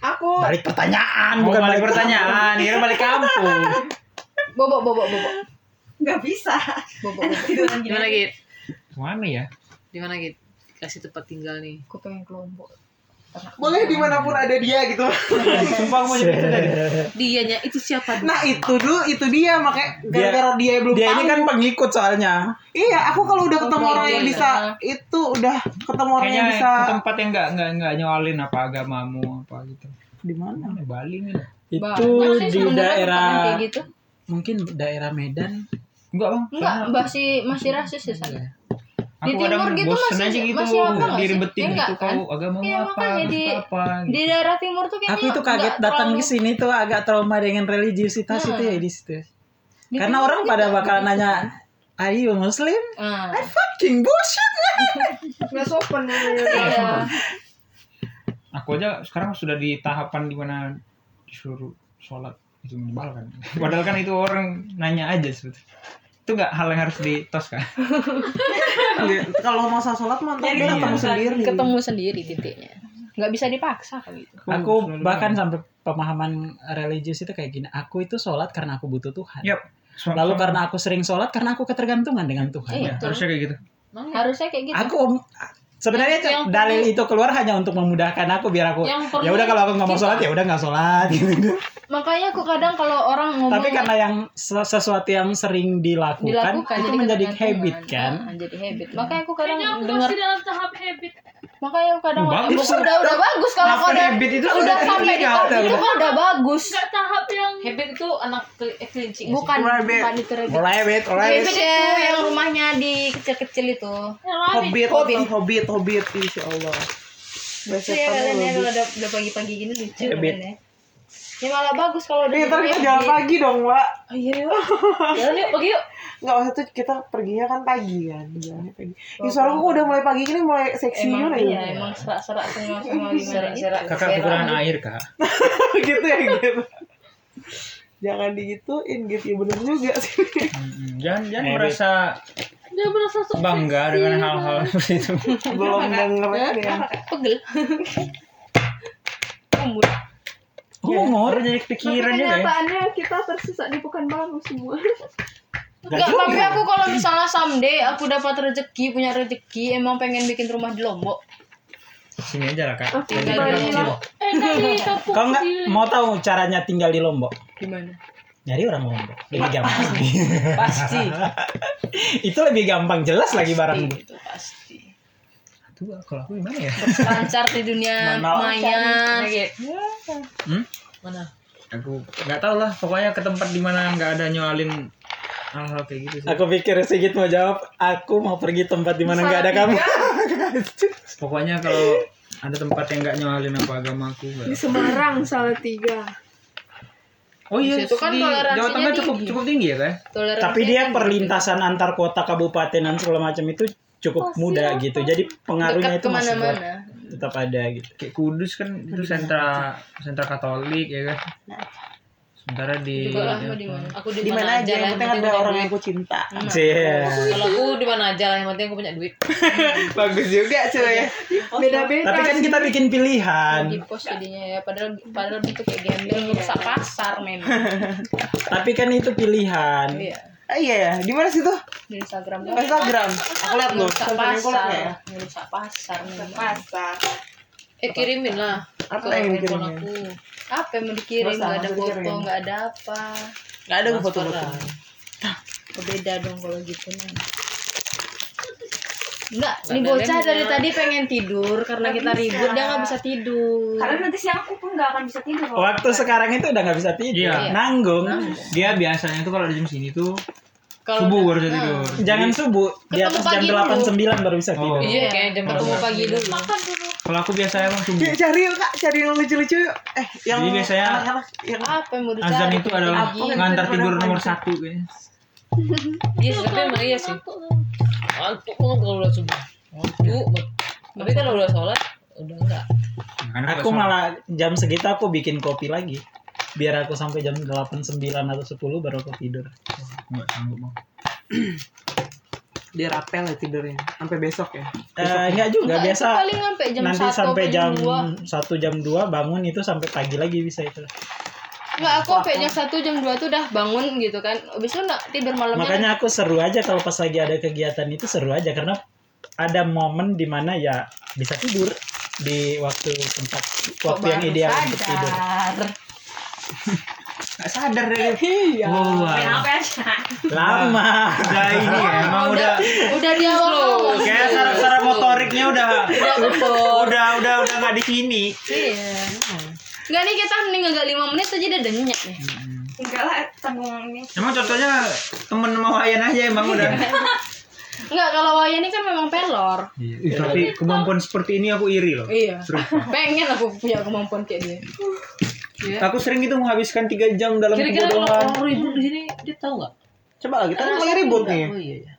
Speaker 8: Aku
Speaker 5: Balik pertanyaan,
Speaker 1: Bukan
Speaker 5: Kan bukan
Speaker 1: Oh, balik
Speaker 5: balik
Speaker 1: pertanyaan, kira balik kampung.
Speaker 6: Bobok, bobok, bobok.
Speaker 10: Nggak bisa.
Speaker 6: Bobok, bobok.
Speaker 10: Tiduran
Speaker 7: Gimana,
Speaker 10: gini.
Speaker 7: Git?
Speaker 1: Mana ya?
Speaker 7: Gimana, Git? Kasih tempat tinggal nih.
Speaker 6: Aku pengen ke Lombok. Ternak kuda.
Speaker 3: Boleh dimanapun ada dia gitu.
Speaker 1: Sumpah aku mau jadi itu tadi.
Speaker 7: Dianya itu siapa?
Speaker 3: Nah itu dulu, itu dia makanya gara-gara dia, belum
Speaker 5: Dia
Speaker 3: tahu.
Speaker 5: ini kan pengikut soalnya.
Speaker 3: Iya, aku kalau udah ketemu orang yang bisa itu udah ketemu orang
Speaker 1: Kayaknya
Speaker 3: yang bisa
Speaker 1: ke tempat yang nggak nggak nggak nyolin apa agamamu apa gitu.
Speaker 5: Di mana?
Speaker 1: Mana Bali nih?
Speaker 5: Itu
Speaker 6: Bang,
Speaker 5: di
Speaker 6: sebenarnya bukan
Speaker 5: daerah
Speaker 6: kayak gitu.
Speaker 5: mungkin daerah Medan.
Speaker 1: Enggak bang.
Speaker 6: Enggak, masih masih rasis ya
Speaker 5: Iya.
Speaker 6: sana.
Speaker 1: Aku
Speaker 6: Di
Speaker 1: kadang
Speaker 6: timur gitu
Speaker 1: bosen
Speaker 6: masih-
Speaker 1: aja gitu
Speaker 6: masih
Speaker 1: mau
Speaker 6: apa nggak sih?
Speaker 1: diribetin
Speaker 6: Ya
Speaker 1: gitu
Speaker 6: nggak kan?
Speaker 1: kau agamamu
Speaker 6: Iya,
Speaker 1: apa
Speaker 6: makanya
Speaker 1: harus
Speaker 6: di-
Speaker 1: apa gitu.
Speaker 6: Di daerah timur tuh kayaknya
Speaker 5: Aku itu
Speaker 6: nggak
Speaker 5: kaget datang
Speaker 6: terlalu-
Speaker 5: ke sini tuh agak trauma dengan religiusitas
Speaker 6: Hmm.
Speaker 5: itu ya di situ.
Speaker 6: Di
Speaker 5: Karena
Speaker 6: timur
Speaker 5: orang
Speaker 6: juga
Speaker 5: pada
Speaker 6: gitu.
Speaker 5: bakalan nanya, "Are you Muslim?"
Speaker 6: Ah.
Speaker 5: Fucking bullshit.
Speaker 8: nggak sopan
Speaker 6: Iya.
Speaker 1: Aku aja sekarang sudah di tahapan di mana disuruh sholat itu menyebalkan. Padahal kan itu orang nanya aja sebetulnya. Itu nggak hal yang harus ditos kan?
Speaker 3: kalau masa sholat mantap
Speaker 10: Jadi
Speaker 3: kita
Speaker 1: iya.
Speaker 3: ketemu sendiri.
Speaker 6: ketemu sendiri titiknya nggak bisa dipaksa kalau gitu
Speaker 5: Aku
Speaker 1: selalu
Speaker 5: bahkan
Speaker 1: bilang.
Speaker 5: sampai pemahaman religius itu kayak gini. Aku itu sholat karena aku butuh Tuhan.
Speaker 1: Yap. So- so-
Speaker 5: Lalu karena aku sering sholat karena aku ketergantungan dengan Tuhan.
Speaker 1: ya,
Speaker 6: Iya.
Speaker 1: harusnya kayak gitu.
Speaker 6: harusnya kayak gitu
Speaker 5: Aku om-
Speaker 7: Yang-
Speaker 5: sebenarnya itu
Speaker 7: yang
Speaker 5: dalil
Speaker 7: perlu-
Speaker 5: itu keluar hanya untuk memudahkan aku biar aku
Speaker 7: Yang perlu
Speaker 5: ya udah kalau aku nggak mau
Speaker 7: kita-
Speaker 5: sholat ya udah nggak sholat gitu.
Speaker 6: makanya aku kadang kalau orang ngomong
Speaker 5: Tapi karena yang se- sesuatu yang sering dilakukan,
Speaker 6: dilakukan
Speaker 5: itu
Speaker 6: jadi
Speaker 5: menjadi
Speaker 6: ketergantungan.
Speaker 5: habit kan.
Speaker 6: Ah, jadi habit makanya aku kadang
Speaker 4: Kayaknya aku
Speaker 6: dengar
Speaker 4: masih dalam tahap habit.
Speaker 6: makanya aku kadang
Speaker 1: Oh, bagus.
Speaker 6: Aku- udah udah bagus kalau
Speaker 1: Maafkan
Speaker 6: kau udah
Speaker 1: habit itu
Speaker 6: udah
Speaker 1: sudah
Speaker 6: sampai di
Speaker 1: illegal.
Speaker 6: tahap itu mah udah bagus
Speaker 4: Enggak tahap yang
Speaker 7: Habit itu anak keli- eh, kelinci. nggak sih?
Speaker 6: bukan
Speaker 3: Rabbit.
Speaker 6: bukan itu rabbit
Speaker 5: Mulai habit, mulai habit.
Speaker 6: Rabbit itu yang rumahnya di kecil-kecil itu
Speaker 4: yang lari.
Speaker 3: Hobbit,
Speaker 6: Hobbit.
Speaker 3: hobbit, hobbit, hobbit, insya Allah.
Speaker 6: lucu ya kalian ya kalau udah, udah pagi-pagi gini lucu
Speaker 5: Rabbit.
Speaker 6: kalian ya ya malah bagus kalau udah
Speaker 3: Nih, Oh, ntar kita
Speaker 6: jadi
Speaker 3: jalan
Speaker 6: habit.
Speaker 3: pagi dong, Mbak.
Speaker 6: Oh, iya yuk jalan yuk pergi yuk
Speaker 3: Nggak, maksud tuh kita perginya kan pagi kan. Jalannya pagi. Ya, soalnya aku udah mulai pagi gini mulai seksi
Speaker 6: emang
Speaker 3: gitu
Speaker 6: iya,
Speaker 3: ya.
Speaker 6: emang serak-serak semua semua gimana gitu.
Speaker 1: Kakak kekurangan air kak.
Speaker 3: gitu ya, gitu. Jangan digituin gitu, ya bener juga sih.
Speaker 1: Mm-mm. Jangan jangan
Speaker 5: Habit.
Speaker 1: merasa
Speaker 4: Dia merasa sukses.
Speaker 1: bangga dengan hal-hal seperti itu.
Speaker 6: Iya,
Speaker 3: Belum denger ya.
Speaker 6: pegel umur
Speaker 5: Umur
Speaker 1: jadi kepikiran juga ya.
Speaker 8: kenyataannya Eh, kita tersesat di bukan baru semua
Speaker 6: Enggak, tapi aku kalau misalnya someday aku dapat rezeki, punya rezeki, emang pengen bikin rumah di Lombok.
Speaker 1: Sini aja lah kak.
Speaker 6: Tinggal di Lombok.
Speaker 4: Eh, tadi tepuk
Speaker 5: Kau nggak
Speaker 4: di
Speaker 5: mau tahu caranya tinggal di Lombok?
Speaker 6: Gimana?
Speaker 5: Nyari orang Lombok lebih gampang.
Speaker 6: Pasti.
Speaker 5: itu lebih gampang jelas lagi barang.
Speaker 6: Itu pasti.
Speaker 1: Tuh kalau aku gimana ya?
Speaker 6: Lancar di dunia
Speaker 5: Mana-
Speaker 6: maya.
Speaker 1: Hmm?
Speaker 7: Mana?
Speaker 1: Aku nggak tahu lah. Pokoknya ke tempat dimana nggak ada nyolin hal-hal kayak gitu sih.
Speaker 5: Aku pikir Sigit mau jawab, aku mau pergi tempat di mana nggak ada kamu.
Speaker 1: Pokoknya kalau ada tempat yang nggak nyolin apa agamaku. nggak-
Speaker 8: di Semarang salah tiga
Speaker 1: Oh iya,
Speaker 6: Itu kan
Speaker 1: di
Speaker 6: toleransinya
Speaker 1: Jawa Tengah cukup
Speaker 6: tinggi.
Speaker 1: cukup tinggi ya kak?
Speaker 6: Toleransi.
Speaker 5: Tapi dia perlintasan antar kota kabupaten dan segala macam itu cukup mudah gitu. Jadi pengaruhnya
Speaker 6: dekat
Speaker 5: itu masih ber-
Speaker 6: kemana-mana.
Speaker 5: tetap ada gitu.
Speaker 1: Kayak Kudus kan itu sentra sentra Katolik ya kan? Sementara di
Speaker 7: Juga lah,
Speaker 1: Jawa
Speaker 7: mau di
Speaker 1: Tengah.
Speaker 7: mana? Aku di
Speaker 3: Di
Speaker 7: mana
Speaker 3: mana
Speaker 7: aja
Speaker 3: aja,
Speaker 7: lah.
Speaker 3: yang
Speaker 7: Yang
Speaker 3: penting ada
Speaker 7: punya
Speaker 3: orang
Speaker 7: duit.
Speaker 3: yang aku cinta.
Speaker 5: Cie.
Speaker 7: Kalau aku di mana aja lah. Yang penting aku punya duit.
Speaker 3: Bagus juga, cuy.
Speaker 8: beda-beda
Speaker 5: Tapi kan kita bikin
Speaker 6: Di
Speaker 5: pilihan.
Speaker 6: pos jadinya ya. Padahal padahal gitu itu kayak gembel merusak pasar memang.
Speaker 5: Tapi kan itu pilihan.
Speaker 6: Iya.
Speaker 3: Ah, iya, di mana sih tuh?
Speaker 6: di Instagram
Speaker 3: Oh, Instagram. Aku lihat loh.
Speaker 7: Merusak
Speaker 3: Instagram aku lihat ya.
Speaker 7: pasar, merusak pasar. memang.
Speaker 10: pasar.
Speaker 6: eh kirimin lah
Speaker 3: Apa
Speaker 6: ke
Speaker 3: yang
Speaker 6: handphone
Speaker 3: dikirimin?
Speaker 6: aku apa yang mau dikirim
Speaker 3: Masa,
Speaker 6: nggak ada
Speaker 3: masa
Speaker 6: foto
Speaker 3: dikirim?
Speaker 6: nggak ada apa
Speaker 3: Gak ada gue foto-foto.
Speaker 6: beda dong kalau gitu kan Enggak,
Speaker 7: Ada
Speaker 6: ini bocah
Speaker 7: lemnya.
Speaker 6: dari tadi pengen tidur karena kita ribut dia nggak bisa tidur.
Speaker 10: Karena nanti siang aku pun nggak akan bisa tidur. kalau
Speaker 5: Waktu sekarang itu udah nggak bisa tidur.
Speaker 1: Iya.
Speaker 5: Nanggung.
Speaker 1: Dia biasanya tuh kalau di jam sini tuh
Speaker 6: Kalau
Speaker 1: subuh baru bisa tidur.
Speaker 5: Jangan
Speaker 1: Jadi,
Speaker 5: subuh di
Speaker 6: Ketemu
Speaker 5: atas jam
Speaker 6: pagi
Speaker 5: 8 9 baru bisa
Speaker 1: Oh.
Speaker 5: tidur.
Speaker 7: Iya, kayak jam
Speaker 6: ketemu
Speaker 7: berapa?
Speaker 6: pagi dulu.
Speaker 4: Makan dulu.
Speaker 1: kalau aku biasanya emang subuh.
Speaker 6: Iya.
Speaker 3: Yuk, cari yuk kak, cari yang lucu-lucu yuk. Eh, yang
Speaker 1: Jadi biasanya
Speaker 3: anak-anak yang
Speaker 6: Apa yang mau dicari?
Speaker 1: Azan itu adalah
Speaker 6: Pagi.
Speaker 1: pengantar tidur nomor satu kayaknya.
Speaker 7: Iya, sih, tapi emang iya sih. Ngantuk banget kalau udah subuh. Ngantuk. banget. Tapi kalau udah sholat, udah enggak.
Speaker 1: Kan kata
Speaker 5: Aku
Speaker 1: suara-
Speaker 5: malah jam segitu aku bikin kopi lagi. Biar aku sampai jam 8 9 atau 10 baru aku tidur.
Speaker 1: nggak sanggup bang.
Speaker 3: dia rapel ya tidurnya sampai besok ya.
Speaker 5: Eh, enggak juga
Speaker 6: Enggak,
Speaker 5: biasa
Speaker 6: itu paling sampai jam
Speaker 5: nanti
Speaker 6: 1
Speaker 5: sampai jam
Speaker 6: dua.
Speaker 5: 1 jam 2 bangun itu sampai pagi lagi bisa itu.
Speaker 6: Enggak, aku sampai jam 1 jam 2 tuh udah bangun gitu kan. Habis itu enggak tidur malamnya.
Speaker 5: Makanya aku seru aja kalau pas lagi ada kegiatan itu seru aja karena ada momen dimana ya bisa tidur di waktu tempat waktu yang
Speaker 6: baru
Speaker 5: ideal untuk tidur.
Speaker 3: Gak sadar deh.
Speaker 1: Wow.
Speaker 10: Main HP aja.
Speaker 5: Iya. Lama.
Speaker 1: Udah ini ya, emang udah
Speaker 6: ya, udah di awal awal.
Speaker 1: kayak saraf-saraf motoriknya udah udah udah udah nggak di sini.
Speaker 6: Iya. Enggak nih kita mending enggak 5 menit aja udah denyak nih.
Speaker 10: Enggak lah, tanggung ini.
Speaker 1: Emang contohnya temen sama Wayan aja emang udah.
Speaker 6: Iya. Enggak, kalau Waya ini kan memang pelor.
Speaker 1: Iya, Ih, tapi kemampuan seperti ini aku iri loh.
Speaker 6: Iya.
Speaker 1: Serius.
Speaker 6: Pengen aku punya kemampuan kayak dia.
Speaker 1: Aku sering gitu menghabiskan 3 jam dalam
Speaker 7: Kira-kira kalau
Speaker 1: kebodohan.
Speaker 7: orang ribut di sini, dia tahu nggak?
Speaker 3: Coba lagi, kita lagi ribut nih.
Speaker 7: Oh iya. iya.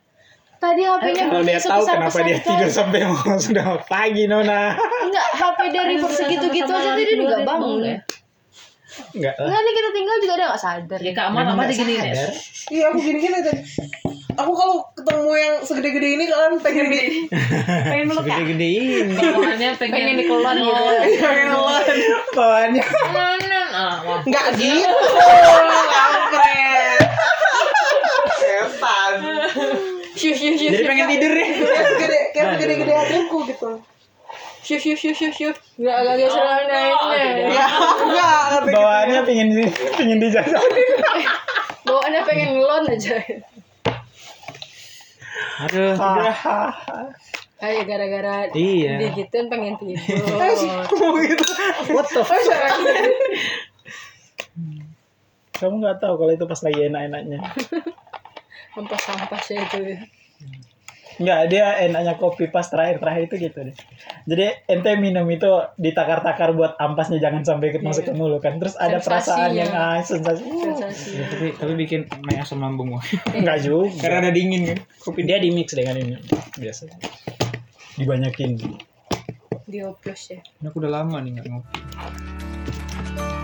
Speaker 6: Tadi HP-nya
Speaker 5: Kalau dia tahu kenapa dia tidur sampai mau sudah pagi Nona.
Speaker 6: Enggak, HP dari
Speaker 7: Ayo,
Speaker 6: segitu-gitu
Speaker 7: sama-sama
Speaker 6: aja tadi dia juga
Speaker 7: lari,
Speaker 6: bangun.
Speaker 7: bangun ya.
Speaker 5: Enggak. lah.
Speaker 6: Enggak nih kita tinggal juga dia enggak sadar.
Speaker 7: Ya Kak Amal apa
Speaker 5: Nggak
Speaker 7: dia gini ya?
Speaker 5: sadar.
Speaker 3: Iya, aku gini-gini tadi. Aku kalau ketemu yang segede-gede ini kalian pengen di
Speaker 10: Pengen meluk ya?
Speaker 5: Gede-gede ini.
Speaker 7: Bawaannya pengen dikeluarin gitu.
Speaker 3: pengen ngelan.
Speaker 5: Bawaannya.
Speaker 7: Ah, wah.
Speaker 3: Enggak gitu. Kampret. Setan.
Speaker 6: Syuh syuh syuh.
Speaker 5: Jadi pengen tidur deh.
Speaker 3: Kayak segede kayak segede-gede hatiku gitu.
Speaker 6: Syuh syuh syuh syuh syuh. Enggak agak geser naiknya.
Speaker 3: Ya, enggak kata gitu.
Speaker 5: Bawaannya pengen di- pengen dijajanin.
Speaker 6: Bawaannya pengen ngelon aja.
Speaker 1: Aduh,
Speaker 6: Ah,
Speaker 1: udah.
Speaker 6: Ayo gara-gara
Speaker 5: Iya.
Speaker 6: digituin pengen tidur.
Speaker 3: Ngomong gitu.
Speaker 5: What
Speaker 6: Oh,
Speaker 5: the
Speaker 6: iya,
Speaker 5: fuck? Hmm. Kamu nggak tahu kalau itu pas lagi enak-enaknya.
Speaker 6: Sampah-sampah sih itu.
Speaker 5: Nggak, dia enaknya kopi pas terakhir-terakhir itu gitu deh. Jadi ente minum itu ditakar-takar buat ampasnya jangan sampai
Speaker 6: Iya.
Speaker 5: ikut masuk ke mulut kan. Terus ada perasaan
Speaker 6: Sensasinya.
Speaker 5: yang ah, sensasi.
Speaker 6: Sensasi.
Speaker 5: Iya,
Speaker 1: Tapi tapi bikin naik asam lambung gua.
Speaker 5: Enggak juga. Karena
Speaker 1: Karena ada dingin kan.
Speaker 5: kopi dia di mix dengan ini biasanya. Dibanyakin.
Speaker 6: Dioplos ya.
Speaker 1: Ini aku udah lama nih nggak ngopi.